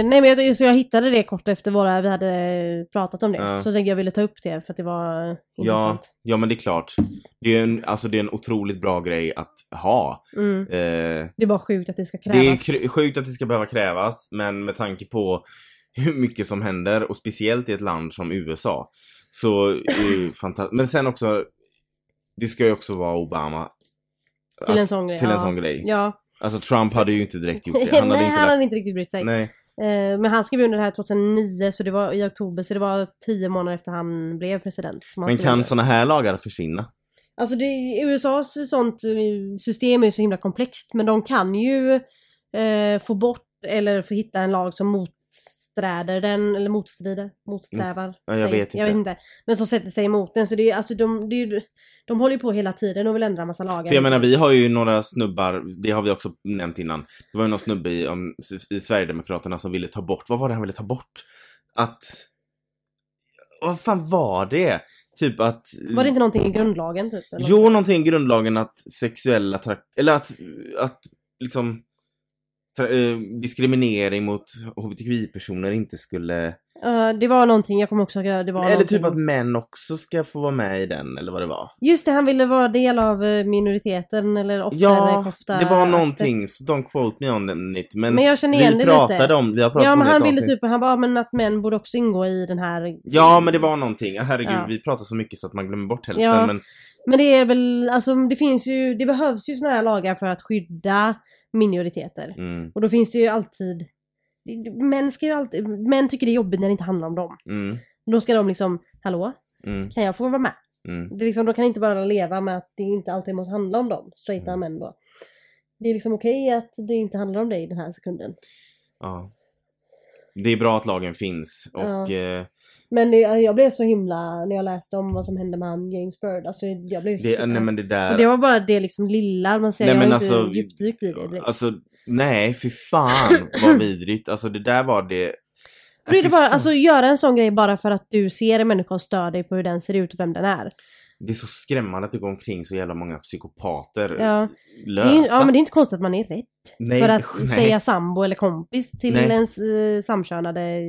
nej men jag, så jag hittade det kort efter våra, vi hade pratat om det. Ja. Så tänkte jag ville ta upp det för att det var eh, Ja, intressant. ja, men det är klart. Det är en, alltså, det är en otroligt bra grej att ha. Mm. Eh, Det är bara sjukt att det ska krävas. det är kr- sjukt att det ska behöva krävas, men med tanke på hur mycket som händer och speciellt i ett land som USA så är ju fantastiskt. Men sen också, det ska ju också vara Obama till en sån grej. till ja. en sån grej. Ja. Alltså Trump hade ju inte direkt gjort det. Han hade Nej, inte han lagt... hade inte riktigt brytt sig. Nej. Eh, men han skrev under det här 2009, så det var i oktober, så det var tio månader efter han blev president. Som han Men skrev kan under. såna här lagar försvinna? Alltså det, USAs sånt eh, system är ju så himla komplext, men de kan ju eh, få bort eller få hitta en lag som motsträder den, eller motstrider, motsträvar. Mm. Ja, jag sig. vet jag inte. vet inte. Men som sätter sig emot den, så det är alltså de, det är, ju- de håller ju på hela tiden och vill ändra massa lagar. För jag menar vi har ju några snubbar, det har vi också nämnt innan. Det var ju någon snubbe i, om, i Sverigedemokraterna som ville ta bort, vad var det han ville ta bort? Att... Vad fan var det? Typ att... Var det inte någonting i grundlagen typ? eller? Jo, någonting i grundlagen att sexuella trak... Eller att, att liksom... Tra- eh, diskriminering mot hbtqi-personer inte skulle... Eh, det var någonting, jag kommer också ihåg det var eller någonting. typ att män också ska få vara med i den, eller vad det var. Just det, han ville vara del av eh, minoriteten eller Ja, offerkofta. det var någonting, så don't quote me on it. Men, Men jag känner igen vi det pratade lite. om, vi har pratat Ja om men det i han ett ville avsnitt. typ, han bara, "Ja, men att män borde också ingå i den här... Ja men det var någonting, herregud Ja. vi pratar så mycket så att man glömmer bort hälften. Ja. Men Men det är väl, alltså det finns ju, det behövs ju såna här lagar för att skydda minoriteter. mm, Och då finns det ju alltid, män ska ju alltid, män tycker det är jobbigt när det inte handlar om dem. mm, Då ska de liksom, hallå, mm, kan jag få vara med? mm. Det är liksom, de kan inte bara leva med att det inte alltid måste handla om dem, straighta Mm. män då. Det är liksom okej att det inte handlar om dig den här sekunden. Ja. Det är bra att lagen finns Ja. och eh, Men det, jag blev så himla, när jag läste om vad som hände med han James Bird, alltså jag blev det, nej men det Och där. det var bara det liksom lilla, man säger Nej, jag men har alltså, inte djupdykt i det direkt. Alltså nej fy fan vad vidrigt, alltså det där var det. Äh, Då är Fy det bara, fan. alltså göra en sån grej bara för att du ser en människa och stör dig på hur den ser ut och vem den Äh, är. Det är så skrämmande att det går omkring så jävla många psykopater Ja. Det lösa. är, ju- ja men det är inte konstigt att man är rädd nej, för att nej. säga sambo eller kompis till Nej. ens eh, samkönade eh,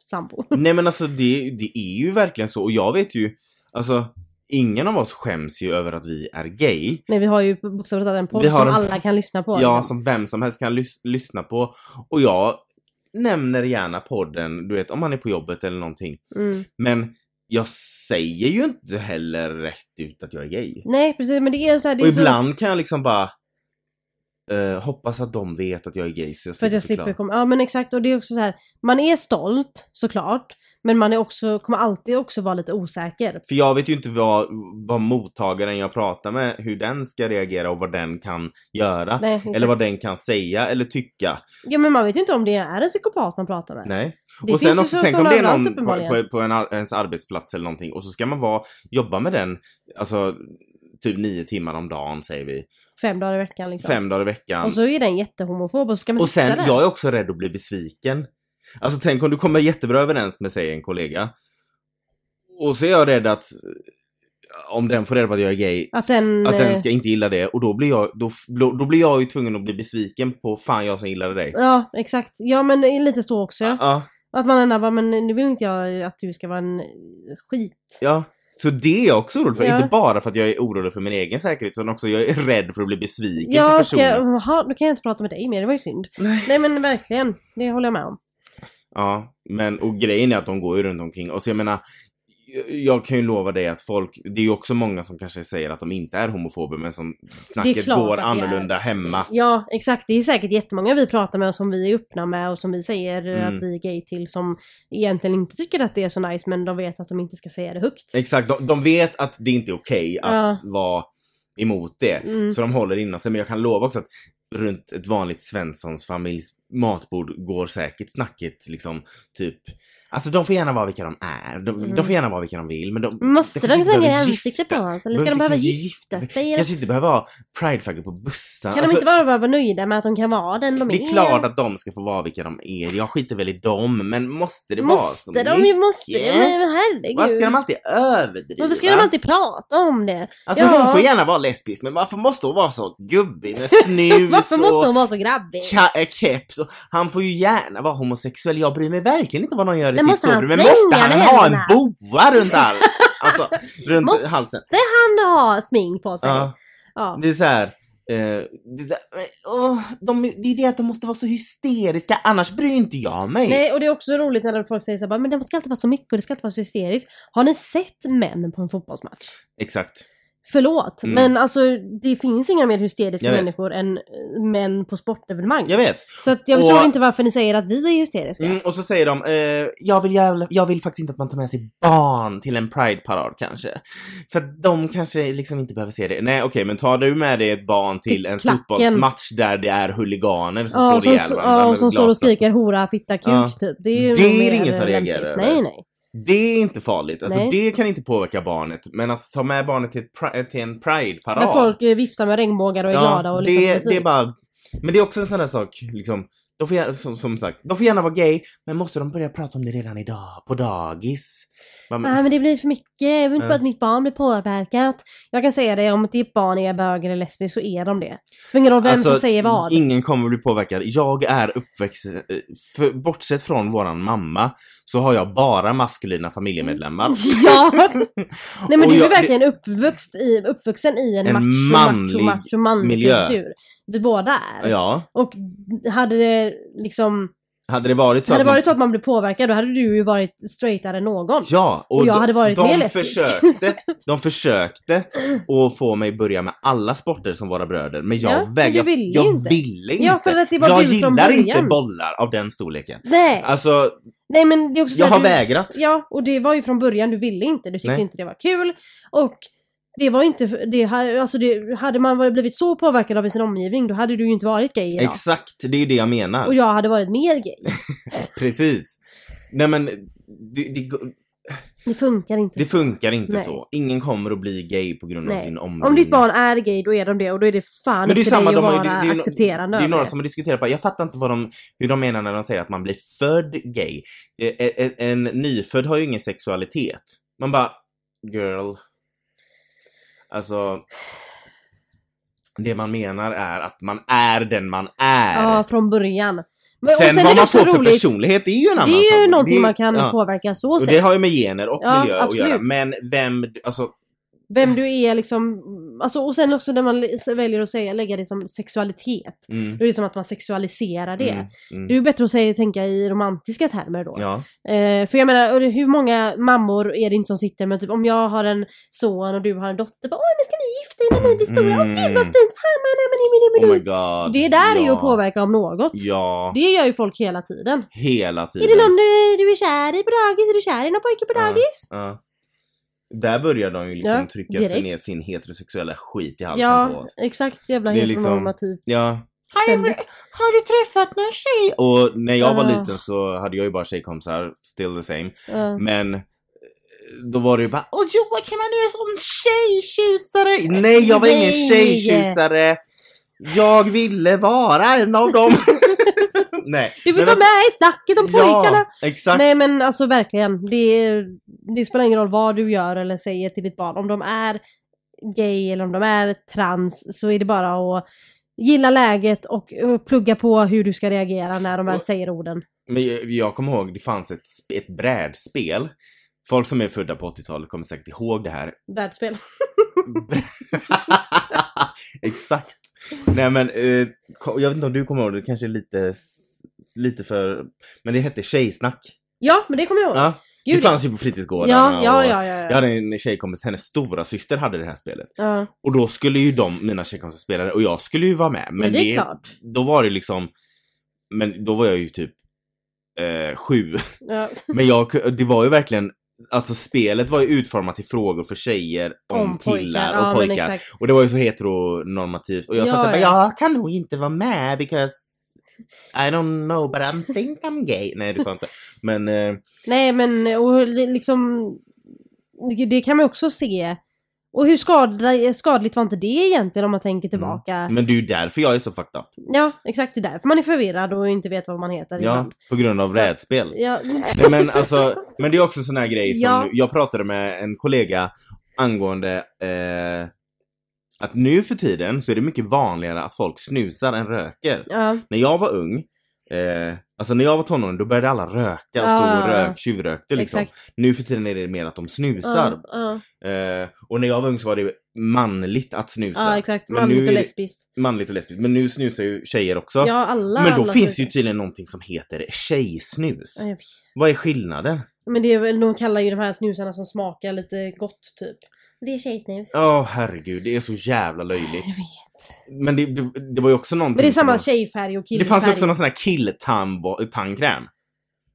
sambo. Nej men alltså det, det är ju verkligen så och jag vet ju, alltså ingen av oss skäms ju över att vi är gay. Nej vi har ju bokstavligt talat en podd Vi har som en- alla kan lyssna på. Ja, liksom. som vem som helst kan lys- lyssna på. Och jag nämner gärna podden, du vet om man är på jobbet eller någonting. mm. Men jag säger ju inte heller rätt ut att jag är gay. Nej precis men det är så här, det är Och så... ibland kan jag liksom bara eh, hoppas att de vet att jag är gay så jag För slipper, att jag slipper förklara. komma, ja men exakt och det är också så här, man är stolt såklart, men man är också, kommer alltid också vara lite osäker. För jag vet ju inte vad, vad mottagaren jag pratar med, hur den ska reagera och vad den kan göra. Nej, exakt. Eller vad den kan säga eller tycka. Ja men man vet ju inte om det är en psykopat man pratar med. Nej. Det och sen finns ju också, så- tänk sådana om det är överallt någon på, uppenbarligen. på, på en, ar- ens arbetsplats eller någonting och så ska man vara, jobba med den, alltså typ nio timmar om dagen säger vi. Fem dagar i veckan liksom. Fem dagar i veckan. Och så är den jättehomofob och så ska man Och sen, sitta där. jag är också rädd att bli besviken. Alltså tänk om du kommer jättebra överens med, säg en kollega. Och så är jag rädd att eh, om den får reda på att jag är gay, Att den, att den eh, ska inte gilla det. Och då blir jag, då, f- då, då blir jag ju tvungen att bli besviken på fan jag som gillade dig. Ja exakt, ja men det är lite så också. ja. Ja, Att man ändå bara, men nu vill inte jag att du ska vara en skit. ja. Så det är jag också orolig för. Ja. Inte bara för att jag är orolig för min egen säkerhet, utan också jag är rädd för att bli besviken på Jag ska, personen. jaha, nu kan jag inte prata med dig mer, det var ju synd. Nej. Nej men verkligen, det håller jag med om. Ja, men och grejen är att de går ju runt omkring. Och så jag menar, jag kan ju lova dig att folk, det är ju också många som kanske säger att de inte är homofober men som Det är snacket klart går att det är. annorlunda hemma. Ja exakt, det är säkert jättemånga vi pratar med och som vi är öppna med och som vi säger eh, Mm. att vi är gay till som egentligen inte tycker att det är så nice men de vet att de inte ska säga det högt. Exakt, de, de vet att det inte är okej att vara emot det. Mm. Så de håller innan sig. Men jag kan lova också att runt ett vanligt Svenssons familjs matbord går säkert snacket liksom typ Alltså de får gärna vara vilka de är, de, Mm. de får gärna vara vilka de vill men de Måste de kanske inte slänga behöver ansiktet på gifta- oss? Eller ska de behöva kanske gifta sig? Eller Kanske inte behöva ha prideflaggor på bussarna. Kan de inte bara vara nöjda med att de kan vara den de det är klart att de ska få vara vilka de är. Jag skiter väl i dem, men måste det vara så Måste de? ju Måste de? mycket? Men herregud. Varför ska de alltid överdriva? Varför ska de alltid prata om det? Alltså Ja. hon får gärna vara lesbisk, men varför måste hon vara så gubbig med snus Varför måste och de vara så grabbig? ka- äh, keps? Och han får ju gärna vara homosexuell. Jag bryr mig verkligen inte vad någon gör i Men sitt måste han sovrum. Men svänga måste han med ha en händerna? boa runt halsen? Alltså, runt Måste halsen. han ha smink på sig? Ja. Ja. Det är så här. eh, det, är så här men, åh, de, det är det att de måste vara så hysteriska, annars bryr inte jag mig. Nej, och det är också roligt när folk säger så här, bara, men det ska alltid vara så mycket och det ska alltid vara så hysteriskt. Har ni sett män på en fotbollsmatch? Exakt. Förlåt, Mm. men alltså det finns inga mer hysteriska Jag vet. människor än män på sportevenemang. Jag vet. Så att jag förstår Och- inte varför ni säger att vi är hysteriska. Mm, och så säger de, eh, jag, vill, jävla- jag vill faktiskt inte att man tar med sig barn till en prideparad kanske. För att de kanske liksom inte behöver se det. Nej okej, men tar du med dig ett barn till Till en klacken. fotbollsmatch där det är huliganer som Ja, slår som, ihjäl varandra ja, med som står och glasflaskor. skriker hora, fitta, kuk Ja. typ. Det är, ju Det är mer ingen som lämpligt. reagerar över. Nej, nej. Det är inte farligt, alltså Nej. det kan inte påverka barnet. Men att ta med barnet till, ett pri- till en prideparad. När folk eh, viftar med regnbågar och är glada och liksom det, precis. det är bara... Men det är också en sån där sak, liksom. De får gärna, som, som sagt, de får gärna vara gay, men måste de börja prata om det redan idag, på dagis? Man, Nej men det blir för mycket, jag vill inte Ja. bara att mitt barn blir påverkat. Jag kan säga det, om ditt barn är bög eller lesbisk så är de det. Spelar ingen roll vem som säger vad. Alltså, Ingen kommer bli påverkad. Jag är uppväxt, eh, för, bortsett från våran mamma, så har jag bara maskulina familjemedlemmar. Ja! Nej men Och du är jag- verkligen uppvuxen i, uppvuxen i en, En macho, macho, manlig macho, manlig miljö. kultur. Vi båda är. Ja, Och hade det liksom, hade det varit så hade det man- varit så att man blev påverkad då hade du ju varit straightare än någon. Ja, och, Och jag de, hade varit de mer lesbisk. Försökte, de försökte att få mig börja med alla sporter som våra bröder, men jag Ja, men vägrade. du ville jag inte. ville inte. Ja, för att det var jag du från gillar inte början. bollar av den storleken. Nej, Alltså, nej men det är också så jag här, har du- vägrat. Ja, och det var ju från början, du ville inte, du tyckte Nej. inte det var kul. Och det var inte, det, ha- alltså det, hade man varit- blivit så påverkad av sin omgivning då hade du ju inte varit gay idag. Exakt, det är ju det jag menar. Och jag hade varit mer gay. Precis. Nej men, det, det, Det funkar inte. det funkar inte Nej. så. Ingen kommer att bli gay på grund av Nej. sin omgivning. Om ditt barn är gay då är de det och då är det fan Men det är upp till samma, dig de att vara har, ju- det, det, är, accepterande det är över några det. som har diskuterat bara, jag fattar inte vad de, hur de menar när de säger att man blir född gay. Eh, eh, En, en nyfödd har ju ingen sexualitet. Man bara, girl. Alltså, det man menar är att man är den man är. Ja, från början. Men, sen, är vad det man också får för personlighet, det är ju en annan Det är ju sak. någonting Det- man kan ja. påverka så Och det sett. har ju med gener och Ja, miljö att göra. absolut. Men vem, alltså, Vem du är liksom, alltså, och sen också när man li- väljer att säga, lägga det som sexualitet. mm, Då är det som att man sexualiserar det. Mm, mm, Det är ju bättre att säga, tänka i romantiska termer då. ja. Eh, för jag menar, och det- hur många mammor är det inte som sitter med typ om jag har en son och du har en dotter, bara, åh nu ska ni gifta er när ni blir stora, åh gud vad fint, mamma, nej, men, nej, men, nej, Mm. Oh men, my nej. god. Det där är ju ja. att påverka om något. Ja, Det gör ju folk hela tiden. hela tiden. Är det någon eh, du, du är kär i på dagis? Är du kär i någon pojke på Ja. dagis? Ja. Där börjar de ju liksom Ja, trycka direkt. sig ner sin heterosexuella skit i halsen på Ja, oss. exakt jävla Det är liksom- heteronormativt. Ja. Ständigt. har du träffat någon tjej? Och när jag var Ah. liten så hade jag ju bara tjejkompisar, still the Mm. same. Ja. Men eh, då var det ju bara Åh Johan kan man nu är sån tjejtjusare? Nej jag var ingen Nej. tjejtjusare! Jag ville vara en av dem! Nej. Du vill men vara alltså- med i snacket om pojkarna! Ja, exakt. Nej men alltså verkligen, det, det spelar ingen roll vad du gör eller säger till ditt barn. Om de är gay eller om de är trans så är det bara att gilla läget och eh, plugga på hur du ska reagera när de väl Och- säger orden. Men jag, jag kommer ihåg, det fanns ett, sp- ett brädspel. Folk som är födda på 80-talet kommer säkert ihåg det här. Världsspel. Exakt. Nej men, eh, ko- jag vet inte om du kommer ihåg det, kanske är lite, s- lite för... Men det hette tjejsnack. Ja, men det kommer jag ihåg. Ja, det Gud, fanns ju på fritidsgårdarna. ja, ja, och- ja, ja, Jag ja. hade en tjejkompis, hennes stora syster hade det här spelet. ja. Och då skulle ju de, mina tjejkompisar spela det och jag skulle ju vara med. Men, Men det är klart. då var det liksom, men då var jag ju typ eh, sju. Ja. Men jag, ku- det var ju verkligen, alltså spelet var ju utformat till frågor för tjejer om, killar och ja, men pojkar. exakt. Och det var ju så heteronormativt. Och jag Ja, satt där bara, ja. jag kan nog inte vara med because I don't know but I think I'm gay. Nej det sa jag inte. Men eh, Nej men och li- liksom Det kan man också se. Och hur skadla- skadligt var inte det egentligen om man Mm. tänker tillbaka? men det är ju därför jag är så fucked up. Ja, exakt. Det är därför man är förvirrad och inte vet vad man heter Ja, ibland. på grund av Så- rädspel. Ja. Nej, men, alltså, men det är också såna här grejer som, Ja. jag pratade med en kollega angående eh, att nu för tiden så är det mycket vanligare att folk snusar än röker. Ja, När jag var ung, eh, alltså när jag var tonåring då började alla röka och stå Ja. och rök, tjuvrökte liksom. Ah. exakt. Ah. Nu för tiden är det mer att de snusar. Ja, ja, Eh, och när jag var ung så var det manligt att snusa. ja, exakt. Men Manligt nu och är det- lesbiskt. Manligt och lesbiskt. Men nu snusar ju tjejer också. Ja, alla. men då alla finns typer. ju tydligen någonting som heter tjejsnus. Ja, jag vet. Vad är skillnaden? Men det är väl, de kallar ju de här snusarna som smakar lite gott typ. Det är tjejsnus. Åh herregud, det är så jävla löjligt. Jag vet. Men det, det, det var ju också någonting Men det är som samma var- tjejfärg och killfärg. Det fanns ju också någon sån här killtandkräm.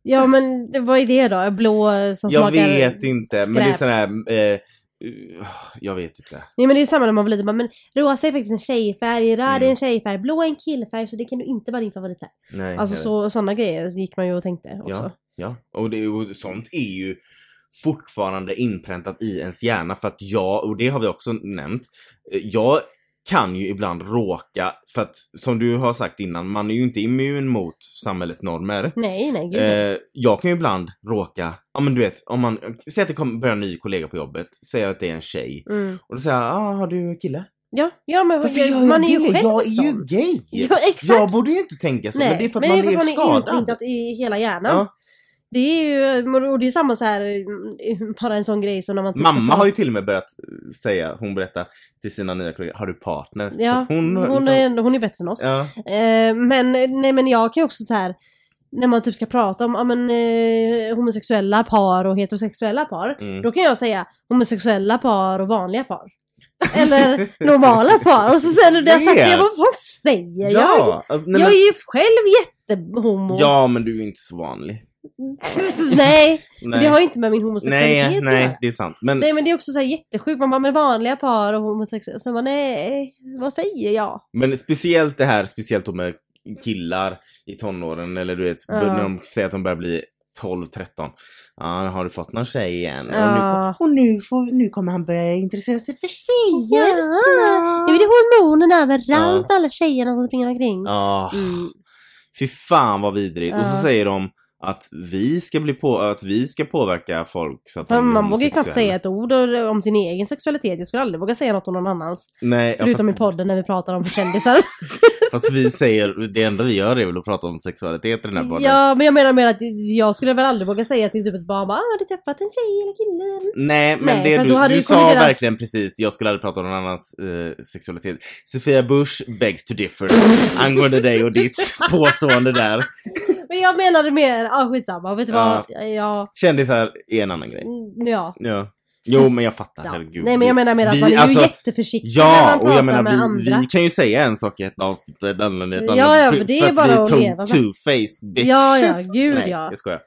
Ja men det- vad är det då? Blå eh, som Jag smakar... vet inte, men det är skräp. sån här... Eh, uh, jag vet inte. Nej men det är ju samma när man var liten, bara, men rosa är faktiskt en tjejfärg, röd är Mm. en tjejfärg, blå är en killfärg så det kan du inte vara din favoritfärg. Nej, Alltså jag vet. så, sådana grejer gick man ju och tänkte också. Ja, och, det, och sånt är ju fortfarande inpräntat i ens hjärna för att jag, och det har vi också nämnt, eh, jag kan ju ibland råka, för att som du har sagt innan, man är ju inte immun mot samhällets normer. Nej nej Mm, gud. Eh, jag kan ju ibland råka, ja men du vet, om man, säg att det kommer börjar en ny kollega på jobbet, säg att det är en tjej, Mm. och då säger jag, ah, har du kille? Ja, ja men Eh. Varför gör jag man är ju det? själv Jag är ju sån. gay! Ja exakt! Jag borde ju inte tänka så, men det är för att man blev skadad. inprintat i hela hjärnan. Ja. Det är ju, och det är samma så här, mm, bara en sån grej som när man... typ Mamma ska- har ju till och med börjat eh, säga, hon berättar till sina nya kollegor, har du partner? Ja, så att hon, liksom- hon, är, ändå- hon är bättre än oss. ja, Eh, men, nej, men jag kan ju också så här när man typ ska prata om ja, men, eh, homosexuella par och heterosexuella par. mm. Då kan jag säga homosexuella par och vanliga par. Eller normala par. Och så säger du det jag sagt, Vet. jag bara, vad säger jag? ja, alltså, nej, jag men, är ju själv jättehomo. ja men du är inte så vanlig. nej, Nej, det har ju inte med min homosexualitet nej, att göra. nej, det är sant. Men Nej men det är också så här jättesjukt, man bara med vanliga par och homosexuella, så man bara, nej, vad säger jag? Men speciellt det här, speciellt då med killar i tonåren eller du vet, Ja. när de säger att de börjar bli 12-13. Ja, har du fått någon tjej igen? Ja. Och, nu, och nu, får, nu kommer han börja intressera sig för tjejer Ja. snart. Nu är det hormonerna överallt, alla tjejerna som springer omkring. Ja, Mm. fy fan vad vidrigt. Och så Ja. säger de att vi ska bli på, att vi ska påverka folk så att de Men blir man vågar ju knappt homosexuella. säga ett ord eh, om sin egen sexualitet, jag skulle aldrig våga säga något om någon annans. Nej, ja, Förutom i fast, podden när vi pratar om kändisar. fast vi säger, det enda vi gör är väl att prata om sexualitet i den här podden. ja, men jag menar mer att jag skulle väl aldrig våga säga till typ ett barn bara, ah, har du träffat en tjej eller kille? Nej men Nej, det för då hade du, det du kommit sa deras- verkligen precis, jag skulle aldrig prata om någon annans eh, sexualitet. Sofia Bush begs to differ angående dig och ditt påstående där. Men jag menade mer, ah skitsamma, vet du Ja. vad? Ja, Kändisar är en annan grej. mm, ja. Ja. Jo men jag fattar, Ja. herregud. Nej men jag menar mer att vi- man är alltså, ju jätteförsiktig när Ja, man och pratar jag menar med vi, andra. vi kan ju säga en sak i ett avsnitt och ett annat i ett Ja, annat. ja, för- men det för är att bara vi att to- leva med. two-faced bitches. Ja, ja, gud, Nej, ja. jag skojar.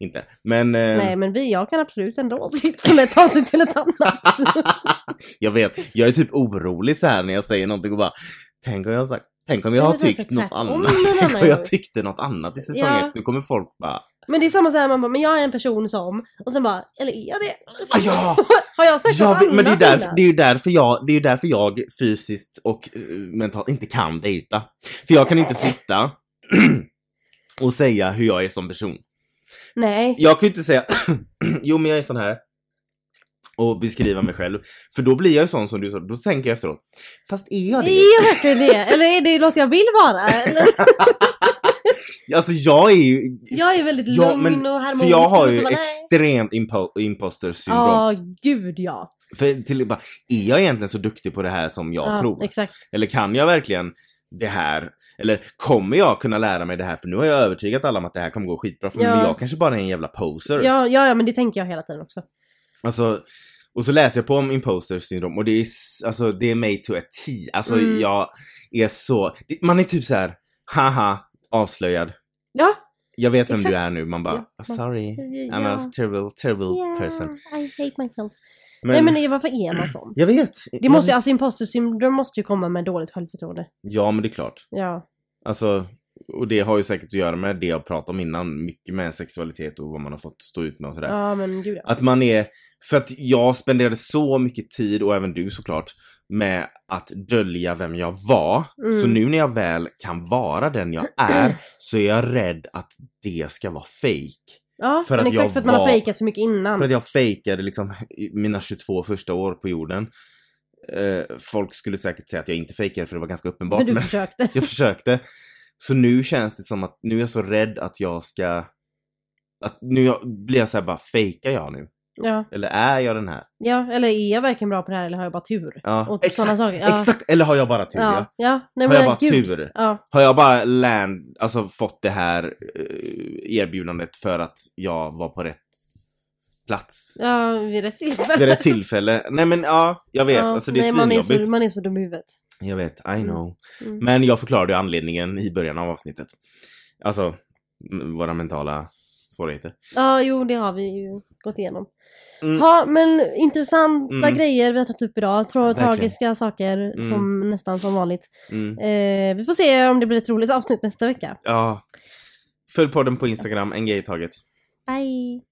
Inte. Men, eh, Nej men vi, jag kan absolut ändra åsikt från ett avsnitt till ett annat. jag vet, jag är typ orolig så här när jag säger någonting och bara, tänk om jag har sagt Tänk om jag Ja, har men tänk tyckt tvärtom något annat. någon annan Tänk om jag gång. tyckte något annat i säsong Ja. ett. Nu kommer folk bara, "Ah, men det är samma såhär, man bara, men jag är en person som, och sen bara, eller är jag det? ah, ja! Har jag sagt något Jag, annat vet- men det är, där, innan? det, är ju därför jag, det är ju därför jag fysiskt och eh, mentalt inte kan dejta. För jag kan inte sitta och säga hur jag är som person. Nej. Jag kan ju inte säga, jo men jag är sån här. Och beskriva mig själv. För då blir jag ju sån som du sa, då tänker jag efteråt. Fast är jag det? Är jag verkligen det? Eller är det något jag vill vara? Eller? Alltså jag är ju... Jag är väldigt Ja, lugn men- och harmonisk. För jag har och ju så bara, nej. extremt impo- imposter syndrom. Ja, gud ja. För till, bara, är jag egentligen så duktig på det här som jag ja, tror? Exakt. Eller kan jag verkligen det här? Eller kommer jag kunna lära mig det här? För nu har jag övertygat alla om att det här kommer gå skitbra för mig. Ja. Men jag kanske bara är en jävla poser. Ja, ja, ja, men det tänker jag hela tiden också. Alltså, och så läser jag på om imposter syndrom och det är, s- alltså, det är mig to a T. Alltså Mm. jag är så, det- man är typ så här, haha, avslöjad. Ja. Jag vet vem Exakt. du är nu, man bara, Ja. sorry. Ja. I'm a terrible, terrible person. I hate myself. Men, Nej men det- varför är man sån? jag vet. Det måste ju, alltså imposter syndrom måste ju komma med dåligt självförtroende. Ja men det är klart. Ja. Alltså, och det har ju säkert att göra med det jag pratade om innan, mycket med sexualitet och vad man har fått stå ut med och sådär. Ja men gud ja. Att man är, för att jag spenderade så mycket tid, och även du såklart, med att dölja vem jag var. Mm. Så nu när jag väl kan vara den jag är så är jag rädd att det ska vara fake. Ja, för men att exakt jag för att man har var- fejkat så mycket innan. För att jag fejkade liksom mina 22 första år på jorden. Eh, folk skulle säkert säga att jag inte fejkade för det var ganska uppenbart. men du men- försökte. jag försökte. Så nu känns det som att nu är jag så rädd att jag ska... Att nu jag, blir jag så här bara, fejkar jag nu? Ja. Eller är jag den här? ja, eller är jag verkligen bra på det här eller har jag bara tur? Ja, Och exakt, sådana saker. Ja. exakt! Eller har jag bara tur? Ja. Ja. ja. Nej, har men jag bara gud. tur? Ja. Har jag bara land, alltså fått det här eh, erbjudandet för att jag var på rätt plats. Ja, vid rätt Vid tillfälle. rätt tillfälle. Nej men ja, jag vet. Ja, alltså det är nej, man, är svinjobbigt. så, man är så dum i huvudet. Jag vet, I Mm. know. Mm. Men jag förklarade ju anledningen i början av avsnittet. Alltså, m- våra mentala svårigheter. Ja, jo det har vi ju gått igenom. Mm. Ja, men intressanta Mm. grejer vi har tagit upp idag. Tra- Verkligen. tragiska saker som nästan som vanligt. Mm. Eh, vi får se om det blir ett roligt avsnitt nästa vecka. Ja. Följ podden på Instagram, en grej i taget. Bye!